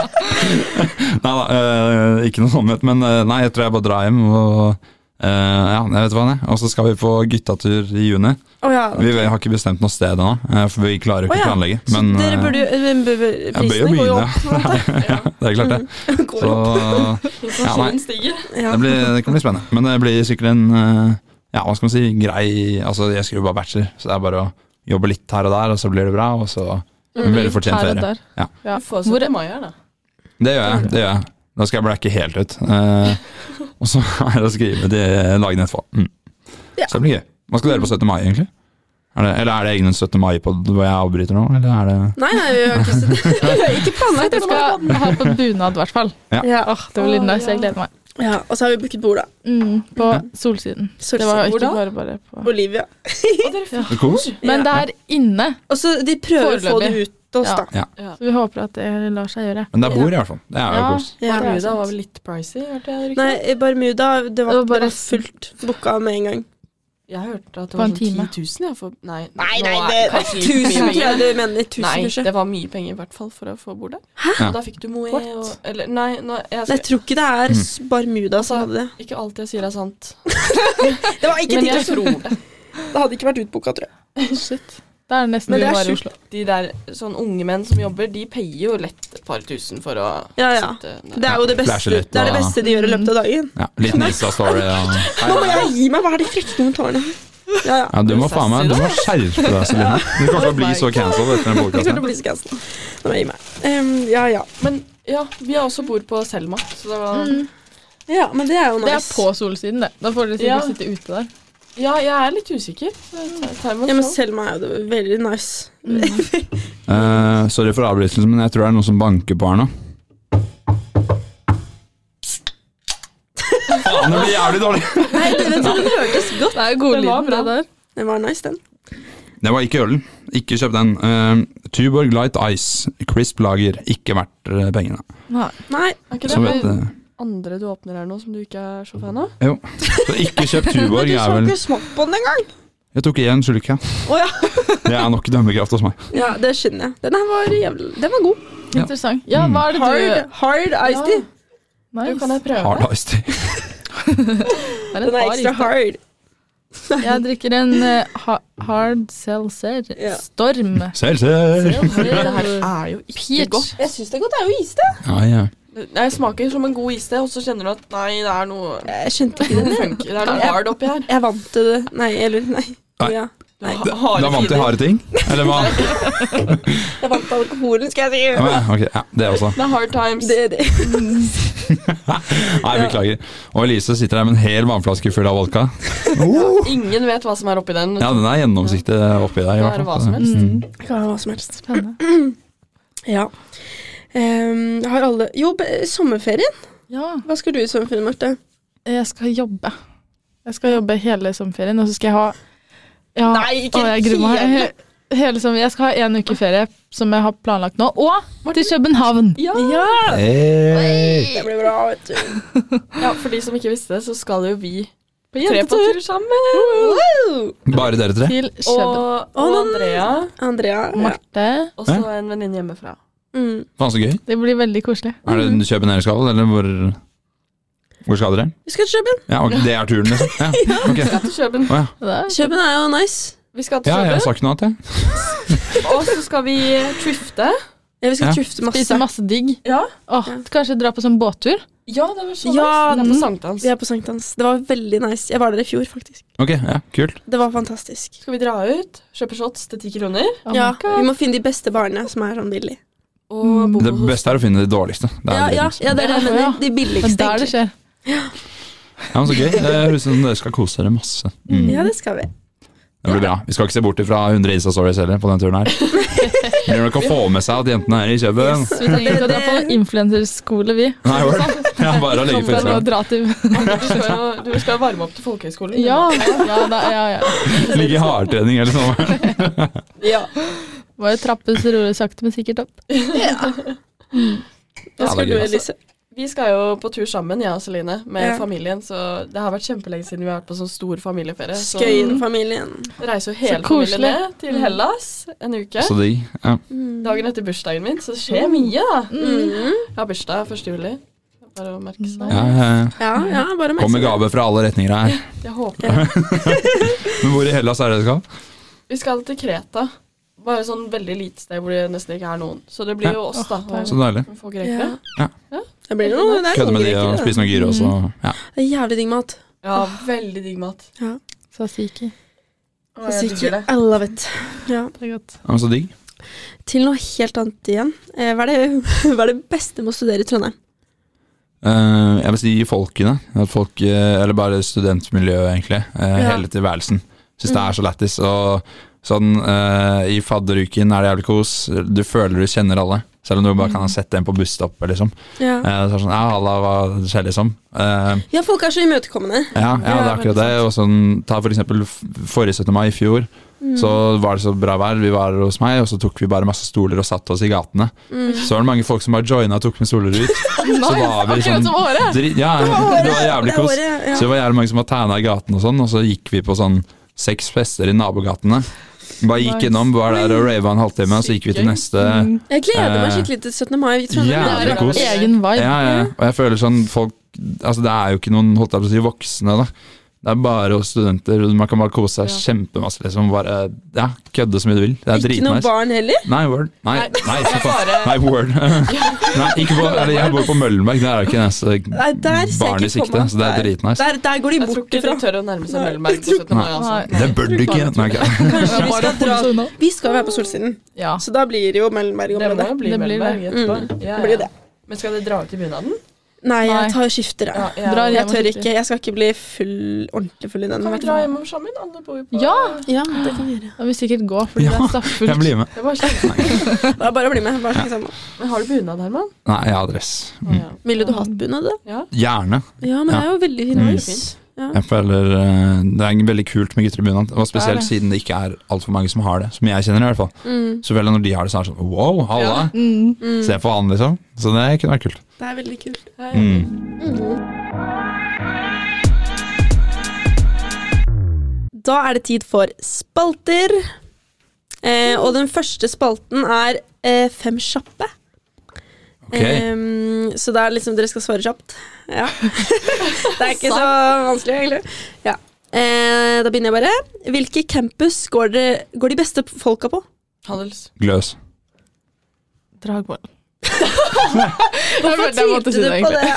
Nei da, eh, ikke noe sånt, men eh, nei, jeg tror jeg bare drar hjem og eh, Ja, jeg vet hva det er. Og så skal vi på guttatur i juni.
Å ja.
Vi har ikke bestemt noe sted ennå, eh, for vi klarer
Å
jo ikke å
ja.
planlegge.
Så
Men
dere
eh,
burde jo eh, b- b-
jeg bør jo
Prisene går jo
begynne,
opp. på en måte. Mm.
ja. Det er klart, det.
Går
Så
opp.
ja, nei,
Inflasjonen stiger.
Ja.
det, blir, det kan bli spennende. Men det blir sikkert en eh, ja, hva skal man si, grei Altså, jeg skriver bare bachelor, så det er bare å jobbe litt her og der, og så blir det bra, og så det blir det fortjent
Her og
ferie.
Mm. der.
Ja.
Ja.
Du får
Hvor-
17. mai her, da.
Det gjør jeg. det gjør jeg Da skal jeg blacke helt ut. Eh, og så er det å skrive de dagene etterpå. Mm.
Ja.
Så det blir gøy. Hva skal dere på 17. mai, egentlig? Er det, eller er det egen 17. mai-pod hvor jeg avbryter nå? Eller er det
Nei, nei, vi har ikke Ikke planlagt
Jeg skal ha på bunad, i hvert fall.
Ja.
Åh, det
Åh,
blir nice. Jeg
ja.
gleder meg.
ja, Og så har vi booket bord, da.
Mm, på Solsiden. Det var
Solsiden.
ikke
Hvor da?
bare bare på
Olivia.
Å, dere fikk
Kos?
Men det er inne,
Og så de prøver å få det
Foreløpig.
ut til oss,
Ja.
da.
så vi håper at det lar seg gjøre.
Men det er bord, i hvert fall. Det er jo
Ja.
kos.
Ja.
Det er
Bermuda
sant.
var vel litt pricy, hørte jeg riktig?
Nei, i Bermuda eh, det var,
Det var bare-
det var fullt booka med en gang.
Jeg hørte at det
På
var
en
sånn 10
time.
000 jeg, for Nei,
Nei,
nå
nei, det
er kanskje litt mye
Tusen, tror
penger.
jeg du mener. Tusen,
Nei,
kanskje.
det var mye penger i hvert fall for å få bord der.
Ja.
Og Da fikk du Moe
What?
og Eller nei, nå, jeg
Nei, jeg
skal,
tror ikke det er s- Bermuda som
Altså-
hadde det.
ikke alt jeg sier er sant,
Det var ikke
men jeg
tickets.
tror det.
Det hadde ikke vært utbooka, tror jeg.
Shit. Det er nesten
Men
vi
det er
var i
sjukt.
Oslo.
De der sånn unge menn som jobber, de payer jo lett et par tusen for å
Ja, ja.
sitte der.
Det er jo det beste,
Flasher litt,
det, er det
da.
beste de gjør i løpet av dagen.
Ja, litt Nisa-story. Ja.
Nå må jeg gi meg! Hva er de frekke kommentarene her? Ja, ja.
Ja, du må faen meg Du må skjerpe deg, Celine. Du kommer til å bli så cancelled etter den
Jeg skal
podkasten.
bli så gassel. Nå må jeg gi meg. Em, ja, ja.
Men ja, vi har også bord på Selma, så det var
Ja, men det er jo nice.
Mm. Det er på Solsiden, det. Da får dere sikkert
Ja.
sitte ute der.
Ja, jeg er litt usikker. så jeg tar- tar imot
Ja, men
så.
Selma er jo det- veldig nice.
Eh, sorry for avbrytelsen, men jeg tror det er noen som banker på her nå. Faen, det blir jævlig dårlig.
Nei, den tror jeg hørtes godt.
Det
Det er jo
var
godlyden,
bra.
det der.
Den var nice, den.
Det var ikke ølen. Ikke kjøp den. Eh, Tuborg Light Ice, crisp lager, ikke verdt eh, pengene.
Nei.
Nei,
Er ikke
Så
det
vet
den
du.
andre du åpner her nå, som du ikke er så fan av?
Jo. Så ikke kjøp
men
Tuborg.
du
Jeg,
så
er vel,
ikke smak på den engang.
jeg tok én slurk, ja.
Å ja.
Det er nok dømmekraft hos meg.
ja, det skjønner jeg. Den her var jævlig Den var god.
Ja.
Interessant. Ja, hva er det du
Hard, hard iced tea.
Nice.
Du, kan jeg prøve?
Hard iced tea.
Det er
Den
en
er
hard
ekstra
is.
hard.
Jeg drikker en eh, ha hard seltzer.
Ja.
Storm.
Seltzer!
Det her
Seltzer.
er jo ikke
Peach.
godt.
Jeg syns det er godt. Det er jo is, det.
Ja, ja.
Det det smaker som en god iste, og så kjenner du at nei, det er noe
Jeg skjønte ikke den.
noe funk- Det er noe hard oppi her.
Jeg vant til det. Nei, eller nei.
Nei.
Ja.
Du har-
Da
harde
vant jeg
tider.
harde ting? Eller hva? Ja,
Jeg vant alkoholen, skal jeg si.
men, ok, ja, det også.
Det er hard times.
Det, det.
Nei, beklager. Og Elise sitter her med en hel vannflaske full av vodka. Oh.
Ingen vet hva som er oppi den.
Ja, den er gjennomsiktig oppi der. i
Kan
hvert
Mm,
være hva
fall.
som helst.
Kan være hva som helst.
Spennende.
Ja. Ehm, har alle Jo, be- sommerferien.
Ja,
Hva skal du i sommerferien, Marte?
jeg skal jobbe. Jeg skal jobbe hele sommerferien, og så skal jeg ha ja,
Nei, ikke
å, jeg gruer meg.
hele.
Hele sommer. Jeg skal ha en uke ferie, som jeg har planlagt nå, og til København.
Ja.
Hey.
Det blir bra, vet du.
ja, for de som ikke visste det, så skal jo vi
På
tre på
jentetur
tur sammen.
Wow!
Bare dere tre?
til København.
Å,
Og, og
nei.
Andrea,
Andrea. Ja.
Marte.
og så en venninne hjemmefra.
Mm.
Faen, så gøy.
Det blir veldig koselig.
Er det kjøp en skal, eller hvor, hvor skal dere?
Vi skal til Kjøben.
Ja, ok, Det er turen, liksom? Ja, ok.
Vi skal til Kjøben.
Å, ja.
Det er
Kjøben er jo nice.
Vi skal til
ja, jeg
Kjøben,
sa ikke noe annet, jeg.
og så skal vi trifte.
Ja, vi skal
Ja.
tufte
Spise
masse.
masse digg.
Ja,
Åh, Kanskje dra på sånn båttur.
ja det var så
Ja,
nice. Det er på
mm.
sankthans.
Vi er på sankthans. Det var veldig nice. Jeg var der i fjor, faktisk.
Ok, ja, kult.
Det var fantastisk.
Skal vi dra ut, kjøpe shots til ti kroner,
Oh my
ja,
God.
Vi må finne de beste barene som er sånn billig.
og
Mm.
bo
Det
på hos
beste er å finne de dårligste. Det er
Ja,
det,
ja,
liksom.
ja, det er det jeg
Ja, ja.
mener. De
Det er
billigste,
der
egentlig.
det skjer.
ja, men så gøy. Det høres ut som dere skal kose dere masse. Mm.
Ja, det skal vi.
Det blir bra. Vi skal ikke se bort ifra 100 Insta-stories heller på denne turen her. Det blir nok å få med seg at jentene er i Kjøben.
Så vi trenger ikke å dra på noen influenserskole, vi.
Nei, hva er det? Ja, bare å legge
Kan bare
føttene.
dra til
Du skal, jo- du skal jo varme opp til folkehøyskolen.
Ja, ja, da, ja, ja.
Ligge i hardtrening eller noe.
Ja.
Må jo trappes rolig sakte, men sikkert opp.
Hva
det er
skal du,
gøy. altså.
Elise?
Vi skal jo på tur sammen, jeg og Celine, med
Ja.
familien. Så det har vært kjempelenge siden vi har vært på sånn stor familieferie. Så
Skøyenfamilien.
reiser jo hele
Så koselig.
familien ned til Hellas en uke.
Så digg. Ja.
Dagen etter bursdagen min, så det skjer mye, da.
Mm.
Jeg har bursdag 1. juli. Det er Bare å merke seg.
Ja, ja.
Ja, ja, bare
Kom med
merke
gaver fra alle retninger her.
Jeg håper
Men hvor i Hellas er det dere skal?
Vi skal til Kreta. Bare sånn veldig lite sted hvor det nesten ikke er noen. Så det blir jo oss, da.
deilig.
Så deilig.
og få grekere.
Ja.
Det blir noe det Mm. er
Kødde
noen
med de og
grekere,
spise noe gyros og ja.
da. Det er jævlig digg mat.
Ja, veldig digg mat.
Tzatziki.
Å, jeg digger det.
I love it. Ja.
Det er godt.
Ja, men Så digg.
Til noe helt annet igjen. Eh, Hva er det, hva er det beste med å studere i Trondheim?
Eh, jeg vil si folkene. Folk, eh, eller bare studentmiljøet, egentlig. Eh,
Ja. Mm.
Hele tilværelsen. Syns det er så lættis. Og sånn eh, i fadderuken er det jævlig kos. Du føler du kjenner alle. Selv om du bare kan ha sett en på busstoppet, liksom.
Ja,
Eh, så er det sånn, ja, halla, hva skjer, liksom? Eh,
ja folk er så imøtekommende.
ja, ja, det er akkurat det. Og sånn, ta for eksempel f- forrige 17. mai i fjor. Så var det så bra vær, vi var hos meg, og så tok vi bare masse stoler og satte oss i gatene. Så var det mange folk som bare joina og tok med stoler ut. Så var vi
Akkurat
sånn
som året!
Dri- ja, det var jævlig
Det er
kos.
året, ja.
Så det var jævlig mange som var tæna i gaten og sånn, og så gikk vi på sånn seks fester i nabogatene. Bare gikk
Nice. Mm.
innom, var der og rava en halvtime, og så gikk vi til neste.
Jeg gleder meg
Eh,
skikkelig til 17. mai i Trondheim.
ja,
Det
Jævlig
er
kos.
en egen
Ja,
vibe.
ja, ja. Og jeg føler sånn folk Altså, det er jo ikke noen, holdt jeg på å si, voksne, da. Det er bare oss studenter, og man kan bare kose seg kjempemasse, liksom. Bare ja, kødde så mye du vil. Det er
Ikke noe
dritnice.
barn heller.
Nei, word. Nei,
Nei,
nei, for faen.
bare-
Nei, word. Nei, ikke på, eller jeg bor på Møllenberg, der er det ikke
Nei,
neste
der ser
barn i
jeg ikke på
sikte,
meg.
så det er dritnice.
Der, der går de
Jeg tror
bort
ikke de
ifra.
tør å nærme seg Møllenberg på 17. mai, altså.
Det bør du ikke. Nei, ok.
Kanskje vi skal dra
Bare unna.
Vi skal jo være på Solsiden,
Ja.
så da blir det jo Mellomberg
Det må
området. Mm.
jo bli
Det blir
Møllenberg
det.
etterpå. Ja,
Det blir jo
ja.
det.
Men skal dere dra ut i bunaden?
Nei,
Nei.
jeg tar skifter, jeg.
ja.
Drar
Jeg
hjem og
tør
skifter.
ikke. Jeg skal ikke bli full, ordentlig full i den.
Kan vi
vet du.
dra hjem om sammen? Alle bor jo på
Ja,
Ja, det kan vi gjøre.
da vil vi sikkert gå, fordi det er stappfullt.
Jeg blir med.
Det var kjempe-
Da bare bli med. Bare sånn, snakk sammen.
Men har du bunad, Herman?
Nei, jeg har dress.
Å, ja.
Ville du hatt bunad, da?
Ja.
Gjerne.
Ja, men det er jo veldig
Mm.
nice. Ja.
Jeg føler eh, Det er veldig kult med gutter i bunad, og
Det er
spesielt
det.
siden det ikke er altfor mange som har det. Som jeg kjenner, i hvert fall.
Mm.
Så vel når de har det, så er det sånn wow, halla!
Mm.
Se på han, liksom. Så det kunne vært kult.
Det er veldig kult.
Ja, ja.
Mm.
Da er det tid for spalter. Eh, og den første spalten er eh, Fem kjappe.
Ok.
Em, så det er liksom dere skal svare kjapt. Ja. det er ikke så vanskelig, egentlig. Ja. Eh, da begynner jeg bare. Hvilke campus går, det, går de beste folka på?
Handels.
Gløs.
Dragvoll. Hvorfor
på det?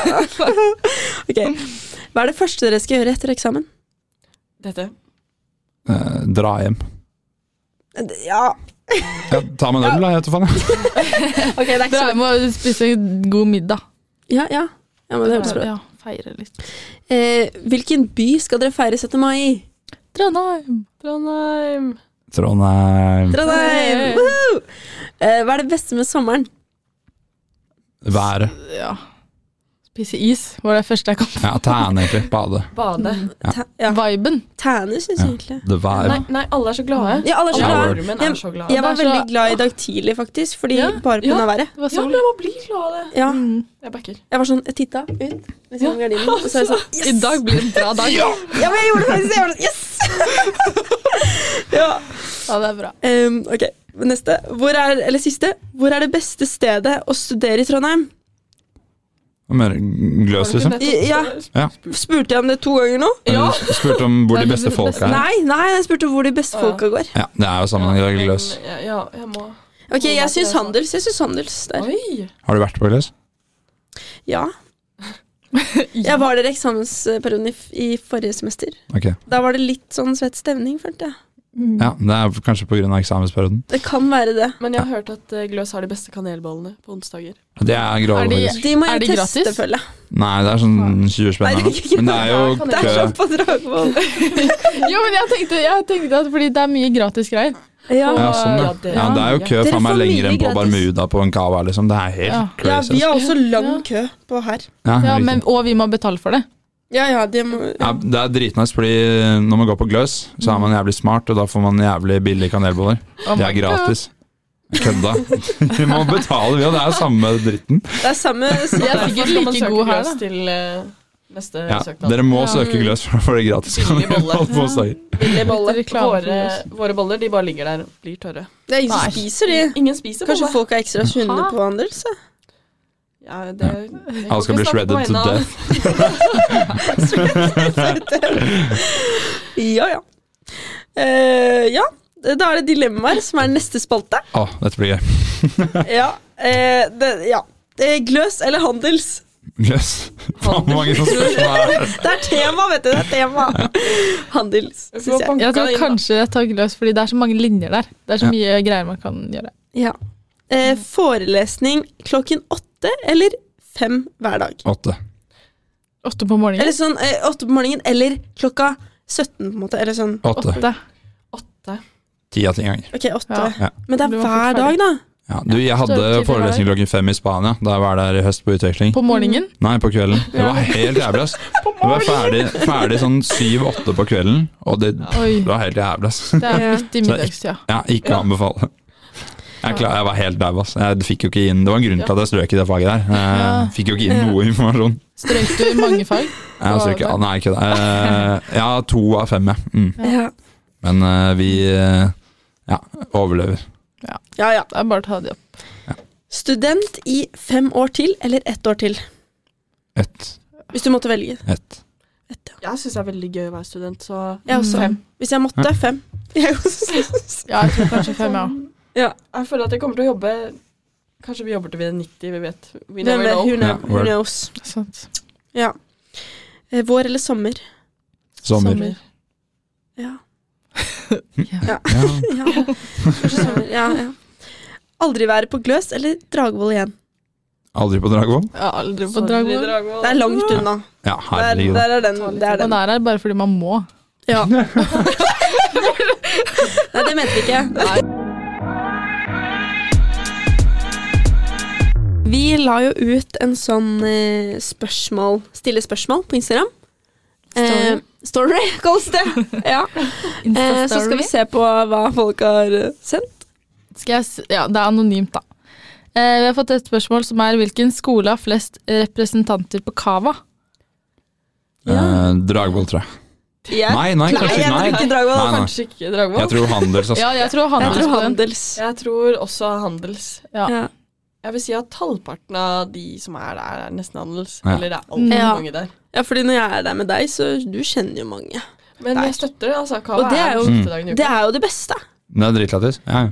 ok. Hva er det første dere skal gjøre etter eksamen?
Dette.
Eh, dra hjem.
Ja,
Ja, ta med en øl, da. Jeg vet da faen.
ok, det er ikke så
Dra hjem og spise en god middag.
Ja, ja. ja men det høres bra ut.
Ja, feire litt.
Eh, hvilken by skal dere feire 17. mai i?
Trondheim.
Trondheim.
Trondheim.
Trondheim!
Hey.
Woohoo! Eh, hva er det beste med sommeren?
Været.
Ja. Spise is var det første jeg kom på.
Ja, tæne, egentlig. Bade.
Bade.
Ta, ja.
Viben.
Tæne, syns
Ja.
jeg egentlig.
The vibe.
Nei, nei, alle er så glade.
Ja, alle er så
Shower.
glad.
glade.
nordmenn er så glade.
Jeg var
Det er så-
veldig glad i dag tidlig, faktisk, fordi
Ja,
bare pga.
ja.
været.
Det
Ja,
var sol.
men jeg må bli glad av det.
Ja.
Mm.
Jeg backer.
Jeg var sånn, jeg titta ut ved siden av
Ja.
gardinen, og så er jeg sånn
I dag blir det en bra dag. ja.
Ja, men jeg gjorde det faktisk! Jeg var sånn, yes! ja.
det er bra.
Ehm, ok, neste. Hvor er, eller siste. Hvor er det beste stedet å studere i Trondheim?
Mer gløs, liksom.
I- ja.
Ja.
Spurte jeg om det to ganger nå?
Men
Ja.
du Spurte om hvor de beste folka er.
Nei, nei, jeg spurte hvor de beste
Å, ja.
folka går.
Ja, det er jo sammenheng med gløs.
Ja, men- ja, jeg må
Ok, jeg syns handels. Jeg syns handels der.
Oi!
Har du vært på gløs?
Ja.
Ja.
Jeg var der i eksamensperioden i, f- i forrige semester.
Ok.
Da var det litt sånn svett stemning, følte jeg. Mm.
Ja, det er kanskje på grunn av eksamensperioden.
Det kan være det.
Men jeg har hørt at eh, Gløs har de beste kanelbollene på onsdager.
Det er grove,
Er de-
faktisk.
De må
Er
jeg
de
teste,
gratis?
føler jeg.
Nei, det er sånn 20
Nei,
spenn.
det er
eller
ikke
noe. Men det er jo
Det er
kø.
sånn på Dragvoll.
Jo, men jeg tenkte, jeg tenkte at fordi det er mye gratis greier.
Ja.
Ja, sånn, ja. ja, det er jo kø
Dere
faen meg
får mye
lenger enn på
gratis.
Bermuda på en cava, liksom. Det er
Ja.
helt
ja,
crazy.
vi har også
Ja.
lang kø på her.
ass.
Ja,
riktig.
men, og vi må betale for det.
Ja, ja, det må
Ja, det er dritnice, fordi eh, når man går på gløs, så er man jævlig smart, og da får man jævlig billige kanelboller.
Oh
Det er
my God.
gratis. Jeg Kødda. Vi må betale, vi, og det er jo samme dritten.
Det er samme
Jeg er sikkert
Derfor skal man
like
søke
god
Gløs
her, da.
Til eh, neste
Ja,
søknad.
dere må
Ja.
søke gløs for å få det gratis
altså. Billig bolle.
kanelboller på seg.
Billig bolle.
Litt reklame for
Våre, våre boller de bare ligger der og blir tørre.
Det er ingen som
Nei.
spiser de.
Ingen spiser
Kanskje
bolle.
folk er ekstra sunne på handels? da?
Ja, det, jeg kan
Alle skal
ikke
bli
snakke på
shredded to
vegne av-
death.
Ja, ja. Eh, ja, da er det dilemmaer, som er neste spalte.
Å, dette blir gøy.
Ja, eh, det, ja. Eh, Gløs eller handels?
Gløs. Faen, hvor mange sånne spørsmål er det?
Det er tema, vet du. det er tema Handels, syns jeg.
Jeg tror
Banka inn, da.
kanskje jeg tar gløs, fordi det er så mange linjer der. Det er så
Ja.
mye greier man kan gjøre.
Ja. Eh, forelesning klokken åtte eller fem hver dag?
Åtte.
Åtte på morgenen.
Eller sånn eh, åtte på morgenen eller klokka 17, på en måte. Eller sånn
Åtte.
Åtte.
Åtte.
Ti av ti ganger.
OK, åtte.
Ja.
Ja.
Men det er
Blir man
hver
fort ferdig?
dag, da.
Ja, du, jeg
Så
hadde
tidlig
forelesning klokken fem i Spania. Da jeg var der i høst på utveksling.
På morgenen.
Mm.
Nei, på kvelden. Det var helt jævlig, ass. Jeg var ferdig, ferdig sånn syv-åtte på kvelden, og det,
Oi.
det var helt jævlig, ass.
Det er
Ja.
midt i middagstida.
Ja, ikke å anbefale. Jeg, klar, jeg var helt dau, ass. Jeg fikk jo ikke inn Det var en grunn til at jeg strøk i det faget der.
Ja.
Jeg fikk jo ikke inn noe informasjon.
Strøk du i mange fag?
Jeg strøk, ja, nei, ikke det. Eh, Ja, to av fem, ja. Mm.
Ja.
Men eh, vi eh, ja, overlever.
ja, ja.
Det er bare å ta de opp.
Student i fem år til eller ett år til?
Ett.
Hvis du måtte velge.
Ett.
Ett, ja.
Jeg syns det er veldig gøy å være student, så
Jeg også.
Mm.
Hvis jeg måtte, fem. Jeg også.
Ja, jeg tror kanskje fem, jeg
Jeg føler at jeg kommer til å jobbe Kanskje vi jobber til vi er 90, vi vet. We
Hvem
never
vet? Who kno-
know.
Ja,
Who
word.
knows?
òg.
Ja. Eh, Vår eller sommer?
Sommer.
Ja.
Ja.
ja. Kanskje sommer. Ja, ja. Aldri være på Gløs eller Dragvoll igjen.
Aldri på Dragvoll?
Jeg har aldri på
Sorry,
Dragvoll.
Dragvoll.
Det er langt unna.
Ja,
Der,
herregud.
der er den. Det er
Man
den.
er her bare fordi man må.
Ja. Nei, det mente vi ikke. Vi la jo ut en sånn eh, spørsmål, stille spørsmål på Instagram. Eh, story, kalles det. Ja. Eh, så skal vi se på hva folk har eh, sendt.
Skal jeg s ja, det er anonymt, da. Eh, vi har fått et spørsmål som er hvilken skole har flest representanter på Kava?
Eh, Dragvoll, tror jeg.
Jeg,
Nei, nei,
Nei,
kanskje
jeg tror
nei.
ikke Dragvoll.
Nei, nei.
Kanskje ikke Dragvoll.
Jeg tror handels, ass.
Ja, jeg tror
Jeg tror
handelsskolen.
handels.
Jeg tror også handels.
Ja.
Jeg vil si at halvparten av de som er der, er nesten handels.
Ja.
Eller det er altfor
Ja.
mange der.
ja, fordi når jeg er der med deg, så du kjenner jo mange.
Men
Der.
jeg støtter det. altså. Kava
Og det er
er
jo-
den siste dagen i
Det
uka.
er jo det beste.
Det er dritlættis. Ja, ja.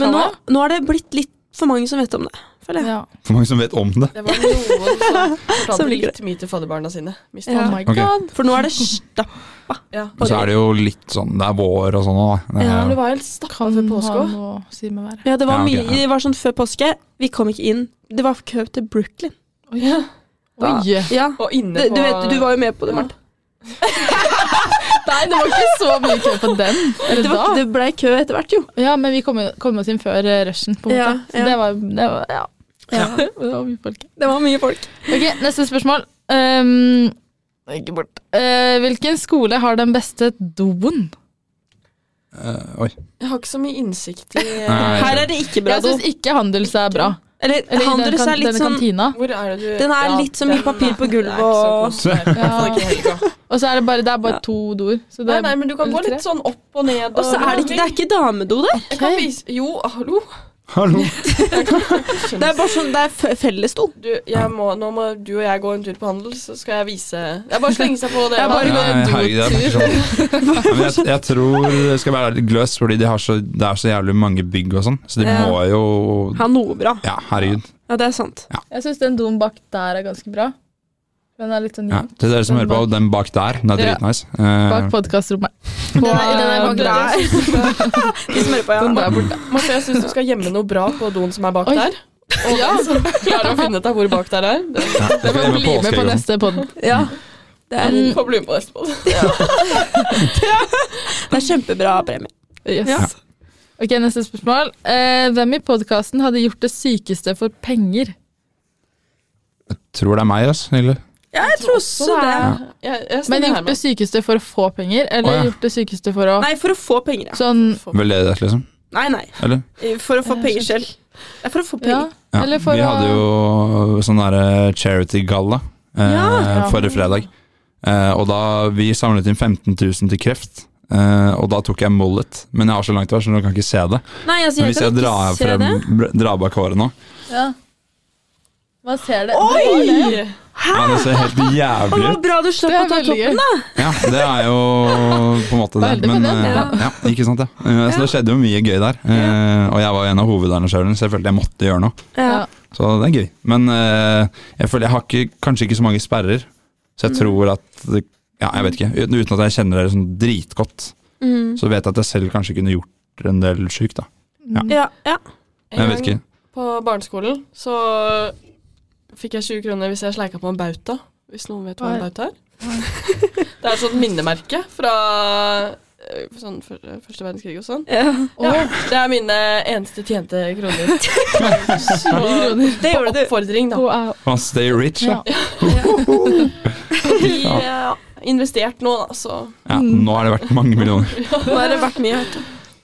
Men nå,
Kava?
nå har det blitt litt for mange som vet om det. Føler jeg.
Ja.
For mange som vet om det.
Det var noen som fortalte
Som liker
litt mye til fadderbarna sine. Mistet
Ja.
Oh
alle.
my
Ok.
god.
For nå er det stapp.
Ja.
Og så er det jo litt sånn Det er vår og sånn òg, da. Det
Ja,
er
Men
jo-
det var helt stappa
Kan
ved
ha
påske òg.
noe å si med været.
Ja, det var
Ja, ok,
mye
ja.
Det var sånn før påske. Vi kom ikke inn. Det var kø til Brooklyn.
Ja.
Da-
Oi!
Ja.
Og
Du,
inne på
du vet, du var jo med på det,
Ja.
Marte.
Nei, det var ikke så mye kø på den. Eller
Det, var,
da.
det blei kø etter hvert, jo.
Ja, men vi kom, kom oss inn før eh, rushen, på en måte.
Ja,
Så
ja.
det var, det var ja.
Ja.
Det var mye folk.
Det var mye folk.
Ok, neste spørsmål. Um, ikke bort. Eh, hvilken skole har den beste doen?
Eh, oi.
Jeg har ikke så mye innsikt i eh,
Nei.
Her er det ikke bra
Jeg
do.
syns ikke Handels er bra.
Eller,
Eller i den
Handels
kan-
er litt
denne
sånn
kantina.
Hvor er det du
Den er litt så mye
den-
papir på
det er
gulvet
ikke så
og-
koselig. I hvert fall ikke i helga.
Og så er det bare, det er bare to doer. Så det
Nei,
er-
nei, men du kan gå
Eller
litt sånn opp og ned.
Og så er det ikke, det er ikke damedo der.
Jeg kan vise Jo, hallo.
Hallo.
Det er bare sånn, det er f- fellesdo.
Du, jeg må, nå må du og jeg gå en tur på handel, så skal jeg vise Det er bare å slenge seg på det.
Jeg bare
Nei,
går en
herregud, det er ikke sånn. Ja, men jeg, jeg tror det skal være gløs, fordi de har så, det er så jævlig mange bygg og sånn. Så de
Ja.
må jo
Ha noe bra.
Ja, herregud.
Ja, det er sant.
Jeg syns den doen bak der er ganske bra. Den er litt sånn
Ja. Til dere som hører på, den bak der, den er
Ja.
dritnice. Eh,
Bak podkastrommet.
den Eh, er bak
Jeg synes du skal-
De som hører på,
Den
ja.
der borte.
Marte, jeg syns du skal gjemme noe bra på doen som er bak
Oi.
der. Og
Ja.
så klarer du å finne ut av hvor bak der er. Det
Eh, ja, jeg
Jeg
skal
må
hjem med
bli med på
påskeegg og sånn.
neste pod.
ja. Det er,
Mm.
får bli med på Vestfold.
det er kjempebra premie.
Yes.
Ja.
Ok, neste spørsmål. Eh, hvem i podkasten hadde gjort det sykeste for penger?
Tror det er meg, ass, egentlig.
Ja, jeg tror også det.
Jeg, jeg
Men
Men
gjort det sykeste for å få penger, eller
Å, ja.
gjort det sykeste for å
Nei, for å få penger, ja.
Sånn
Veldedighet, liksom.
Nei, nei.
Eller?
For å få
Eh,
penger selv. Det er for å få
ja.
penger.
Ja.
Eller for
Vi
å-
hadde jo sånn derre charity-galla eh,
Ja.
forrige fredag. Eh, og da Vi samlet inn 15 000 til kreft. Eh, og da tok jeg mullet, men jeg har så langt hår, så dere kan ikke se det.
Nei, altså, jeg
Men hvis
kan
jeg
ikke
drar,
se
frem,
det.
br- drar bak håret nå
Ja. Man ser det.
Oi!
ja, Det ser helt
Å,
jævlig
det var
ut.
bra du
Det
slapp å
er
ta
veldig gøy.
toppen, da.
Ja, det er jo på en måte det.
Veldig
Men,
på den,
eh,
ja.
ja, ikke sant, ja. Eh, Så det skjedde jo mye gøy der. Eh, og jeg var jo en av hovedarrangørene, så jeg følte jeg måtte gjøre noe.
Ja.
Ja.
Så det er gøy. Men eh, jeg føler jeg har ikke, kanskje ikke så mange sperrer, så
Mm.
jeg tror at det, Ja, jeg vet ikke. Uten uten at jeg kjenner dere sånn dritgodt,
Mm.
så vet jeg at jeg selv kanskje kunne gjort en del sjukt, da.
Ja, ja.
Men jeg vet ikke.
På barneskolen så fikk jeg 20 kroner hvis jeg sleika på en bauta. Hvis noen vet hva en
Oi.
bauta er.
Mm.
Det er et sånt minnemerke fra eh, sånn fyr- første verdenskrig og sånn.
ja.
Ja, det er mine eneste tjente kroner. Så,
Det
på
gjorde du.
oppfordring, da.
Wow.
Man stay rich, da.
Ja.
De eh, investert nå, da, så
Ja, nå har det vært mange millioner.
Nå har det vært mye hørt.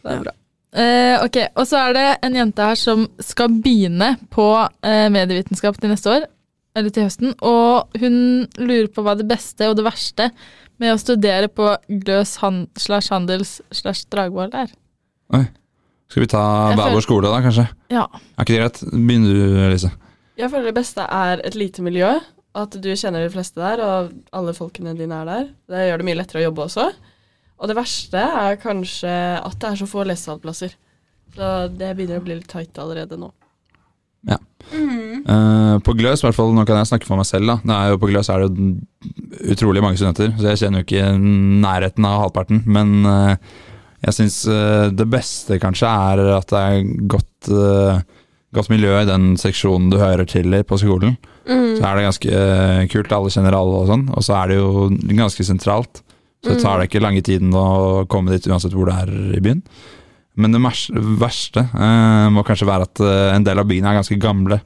Det er bra. Eh, ok, Og så er det en jente her som skal begynne på eh, medievitenskap til neste år. Eller til høsten. Og hun lurer på hva det beste og det verste med å studere på Gløs han slash Handels slash Dragvoll er.
Skal vi ta
Jeg
hver
føler-
vår skole, da, kanskje?
Ja.
Er ikke det greit? Begynner du, Lise?
Jeg føler det beste er et lite miljø. At du kjenner de fleste der, og alle folkene dine er der. Det gjør det mye lettere å jobbe også. Og det verste er kanskje at det er så få lesesalplasser. Så det begynner å bli litt tight allerede nå.
Mm.
Eh, på Gløs, i hvert fall, nå kan jeg snakke for meg selv, da. Det er jo, på Gløs er det jo utrolig mange studenter, så jeg kjenner jo ikke nærheten av halvparten. Men eh, jeg syns eh, det beste kanskje er at det er godt, eh, godt miljø i den seksjonen du hører til i på skolen. Så er det ganske eh, kult, alle kjenner alle og sånn. Og så er det jo ganske sentralt. Så det tar det ikke lange tiden å komme dit uansett hvor det er i byen. Men det mers- verste eh, må kanskje være at eh, en del av byene er ganske gamle,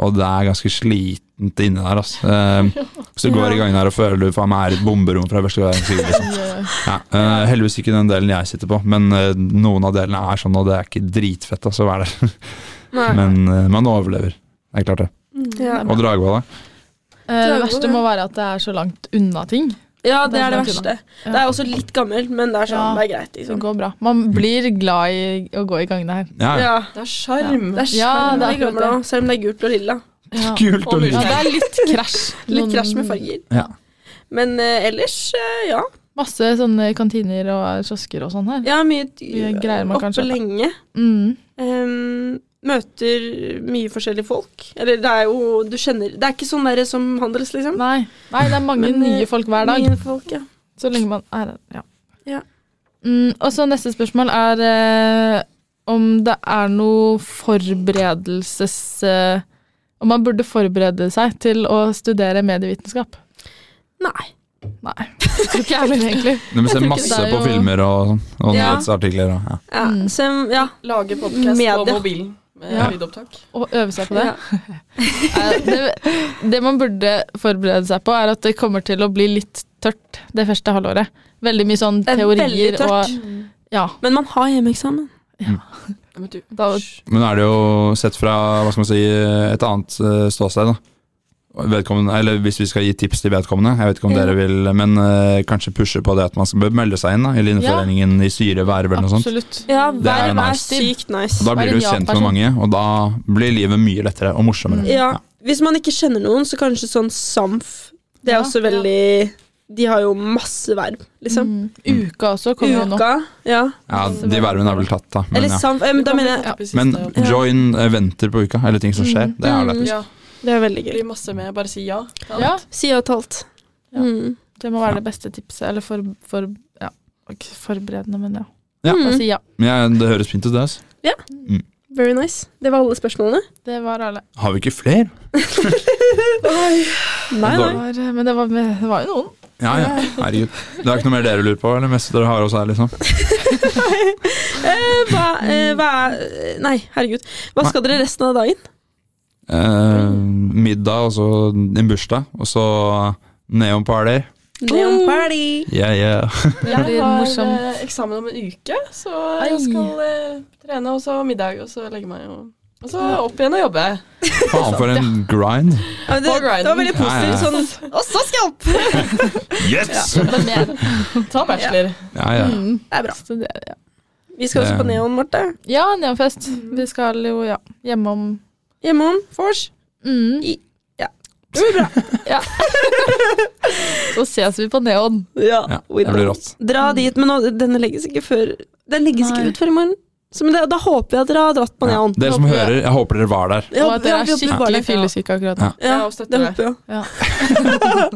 og det er ganske slitent inne der. Altså. Eh, så du går i gangen her og føler du faen meg er i et bomberom fra første verdenskrig. Liksom. Ja, eh, heldigvis ikke den delen jeg sitter på, men eh, noen av delene er sånn, og det er ikke dritfett altså, å være der. Men eh, man overlever. Det er klart, det.
Ja.
Og Dragvoll, da?
Eh, det
Dragvoll,
verste
ja.
må være at det er så langt unna ting.
ja, det er det
Det er
verste. Det er også litt gammelt, men det er sånn,
Ja.
det er greit,
Det
liksom.
går bra. Man blir glad i å gå i gangene her.
Ja, ja.
Ja.
Det er sjarm.
Det er
Ja,
sjarm
det er
i gammel
akkurat
òg, selv om det er gult og lilla.
Ja,
Kult
og
og
lurt.
ja
lurt.
det er litt krasj.
Litt krasj med
Noen-
farger.
Ja.
Men eh, ellers, eh, ja.
Masse sånne kantiner og kiosker og sånn her.
Jeg har mye
Mye greier man kan
oppe
kjøpe.
lenge.
Mm.
Em, møter mye forskjellige folk. Eller det er jo Du kjenner Det er ikke sånn derre som handels, liksom.
Nei. Nei, det er mange
Men, eh,
nye folk hver dag.
Mye folk, ja.
Så lenge man er Ja.
Ja.
Mm, og så neste spørsmål er eh, om det er noe forberedelses... Eh, om man burde forberede seg til å studere medievitenskap.
Nei.
Nei, jeg tror ikke jeg heller, egentlig.
Du må se
ikke
masse
det er
på
jo-
filmer og, sånn, og
Ja.
nyhetsartikler. Og, ja.
Ja,
Mm.
så, ja.
Lage podkast på
Media.
mobilen. med
Ja.
lydopptak.
Å øve seg på det. Eh, det. Det man burde forberede seg på, er at det kommer til å bli litt tørt det første halvåret. Veldig mye sånn
Det er veldig
teorier og
tørt.
Ja.
Men man har hjemmeeksamen.
Ja, Men du,
Da,
Men nå er det jo sett fra hva skal man si, et annet eh, ståsted, da. Vedkommende, eller hvis vi skal gi tips til vedkommende, jeg vet ikke om
Ja.
dere vil, men eh, kanskje pushe på det at man skal bør melde seg inn da, i Linjeforeningen i Syre, Verv eller noe sånt.
absolutt.
Ja,
Det
verv
er
er
nice.
sykt
Og
nice.
da blir
Være
du
en
kjent med
ja-person.
mange, og da blir livet mye lettere og morsommere.
Ja, hvis man ikke kjenner noen, så kanskje sånn SAMF. Det er
Ja,
også veldig De har jo masse verv, liksom.
Mm. Uka også kommer jo nå.
Uka. Ja.
Ja, de vervene er vel tatt, da. Men,
Eller
ja.
SAMF. eh, Men da mener jeg
Ja, precis,
men
det, ja.
join eventer på uka, eller ting som skjer. Det er
Mm.
lettest.
Ja,
Det er veldig gøy.
bli masse med. Bare si ja. til alt.
Ja,
Si og talt.
Ja.
Mm.
det må være det beste tipset. Eller for, for ja. ikke Forberedende, men ja.
Ja.
Mm.
Da sier ja.
Men ja, det høres fint ut, det. Altså.
Very nice. Det var alle spørsmålene.
Det var alle.
Har vi ikke flere?
Nei,
Det
Dårlig.
nei.
var, men det var, det var jo noen.
Ja, ja. Herregud. Det er ikke noe mer dere lurer på, eller mest dere har hos her, liksom?
Eh, Hva, eh, hva er Nei, herregud. Hva skal dere resten av dagen?
Eh, middag, og så en bursdag, og så neonparty. Oh.
Neon party.
Yeah, yeah.
Det
Jeg
blir
har
morsomt.
eh, eksamen om en uke, så
Ai.
jeg skal eh, trene, og så middag, og så legge meg og og så opp igjen og jobbe.
Faen, for en grind.
Ja, men det,
På grinden.
det var veldig
Ja,
positivt.
ja,
Sånn Og så skal jeg opp!
Yes!
Men mer.
Ta bachelor.
Ja, ja.
Mm.
Det er bra.
Studere, ja.
Vi skal også på
Eh.
Neon, Marte.
ja, neonfest. Vi skal jo ja, hjemme om
Hjemme om vors.
mm.
Det blir bra.
Så ses vi på neon.
Ja, det blir rått.
Dra dit, men nå, denne legges ikke før Den legges
Nei.
ikke ut før i morgen. Så, men det, da håper jeg at dere har dratt på
Ja.
Neon.
Dere som
Håper jeg.
hører, jeg håper dere var der.
Ja,
og at dere
ja, vi
er
håper dere var
skikkelig
der.
fyllesyke akkurat nå.
Ja.
Ja,
Ja, og
det
støtter
håper jeg.
Ja.
ja.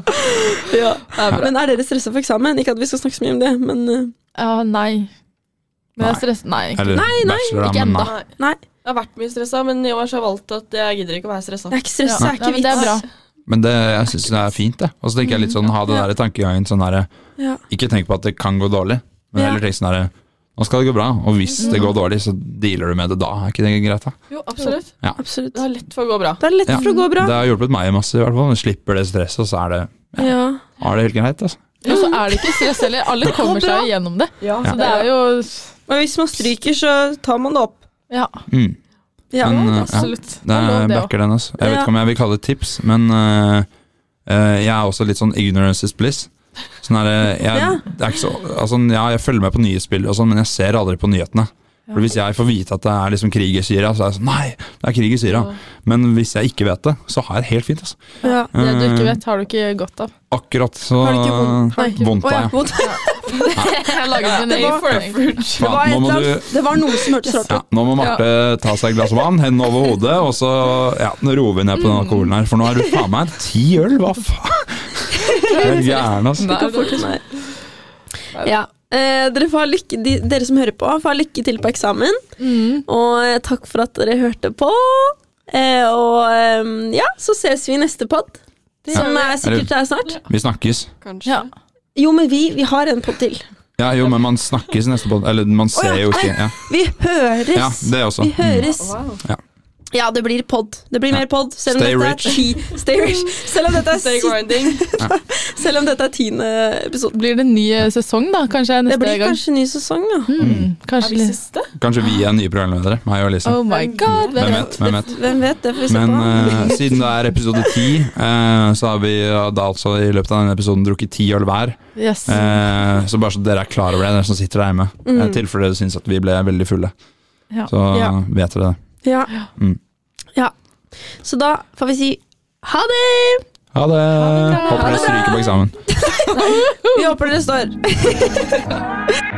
Det er bra.
Men er dere stressa for eksamen? Ikke at vi skal snakke så mye om det, men eh,
Ja, nei. Men jeg
Nei.
er stresset. Nei, egentlig.
Eller bachelor,
ikke
da, men
enda.
nei.
Nei.
nei.
Jeg har vært mye stressa, men i år så har jeg valgt at jeg gidder ikke å være stressa.
Det er ikke stress,
Ja.
det er ikke
Nei, men det er
vits.
bra.
Men det, jeg syns det er fint, det. Og så tenker jeg litt sånn, ha det der i tankegangen sånn herre
Ja.
Ikke tenk på at det kan gå dårlig, men
Ja. Mm.
heller tenk sånn herre Nå skal det gå bra, og hvis det går dårlig, så dealer du med det da. Er ikke det greit, da?
Jo, absolutt.
Absolutt.
Det er lett for å gå bra.
Det er lett
Ja.
for å gå bra.
Det har hjulpet meg masse, i hvert fall. Jeg slipper det stresset, og så er det,
Ja.
er det helt greit, altså.
Og så er det ikke stress heller. Alle kommer
bra.
seg gjennom det.
Ja,
Så det er jo
Men hvis man stryker, så tar man det opp.
Ja,
Mm.
Ja.
Men, eh, ja.
absolutt.
Det
er lov,
er
det også.
backer den, altså. Jeg vet
Ja.
ikke om jeg vil kalle det tips, men øh, øh, jeg er også litt sånn ignorance is bliss. Sånn er det, jeg,
Ja.
det er ikke så, altså, ja, jeg følger med på nyhetsbilder og sånn, men jeg ser aldri på nyhetene. For Hvis jeg får vite at det er liksom krig i Syria, så er jeg sånn Nei, det er krig i Syria. Men hvis jeg ikke vet det, så har jeg det helt fint. Altså. Eh,
Ja.
Det du ikke vet, har du ikke godt av.
Akkurat så
Har du ikke vondt? Nei.
Vondt
Å,
av,
ja,
ja.
vondt.
Jeg laget min
Det var for
egen
fruit.
Det var, et
Faen, nå
eller
må du
annet- det var noe som hørtes rart
ja,
ut.
nå må Marte ta seg et glass vann, hendene over hodet, og så ja, nå roer vi ned på den
Mm.
alkoholen her. For nå er du faen meg ti øl, hva faen? Du er gæren, altså.
Ikke
Nei,
fort, nei. Ja. Eh, dere, får ha lykke, de, dere som hører på, får ha lykke til på eksamen.
Mm.
Og eh, takk for at dere hørte på. Eh, og eh, ja, så ses vi i neste pod, som er sikkert er snart.
Vi snakkes.
Kanskje.
Ja.
Jo, men vi, vi har en pod til.
Ja, jo, men man snakkes neste på Eller man ser
Å, ja.
jo ikke. Ja,
Vi høres!
ja det også.
Vi høres.
Mm.
Wow.
Ja, det blir pod. Det blir mer pod. Selv om
Stay
dette
rich.
er ti Stay rich. Selv om dette er,
Stay
si,
grinding.
selv om dette er tiende episode.
Blir det en ny eh, sesong, da? Kanskje
Det
neste
blir
gang?
kanskje ny sesong, da.
Mm.
Er
Kanskje
vi
litt
siste?
Kanskje vi er nye programledere, meg og Elise.
Oh my god, hvem
Hvem
vet?
vet? Hvem vet?
Hvem vet? Det får vi se
Men
på.
eh, siden det er episode ti, eh, så har vi eh, da altså i løpet av denne episoden drukket ti øl hver.
Yes.
Eh, så bare så dere er klar over det, dere som sitter der hjemme. I
Mm.
tilfelle dere syns at vi ble veldig fulle.
Ja.
Så
Ja.
vet dere det.
Ja.
Mm.
ja. Så da får vi si ha det!
Ha det!
bra.
Håper dere stryker på eksamen.
Vi håper dere står.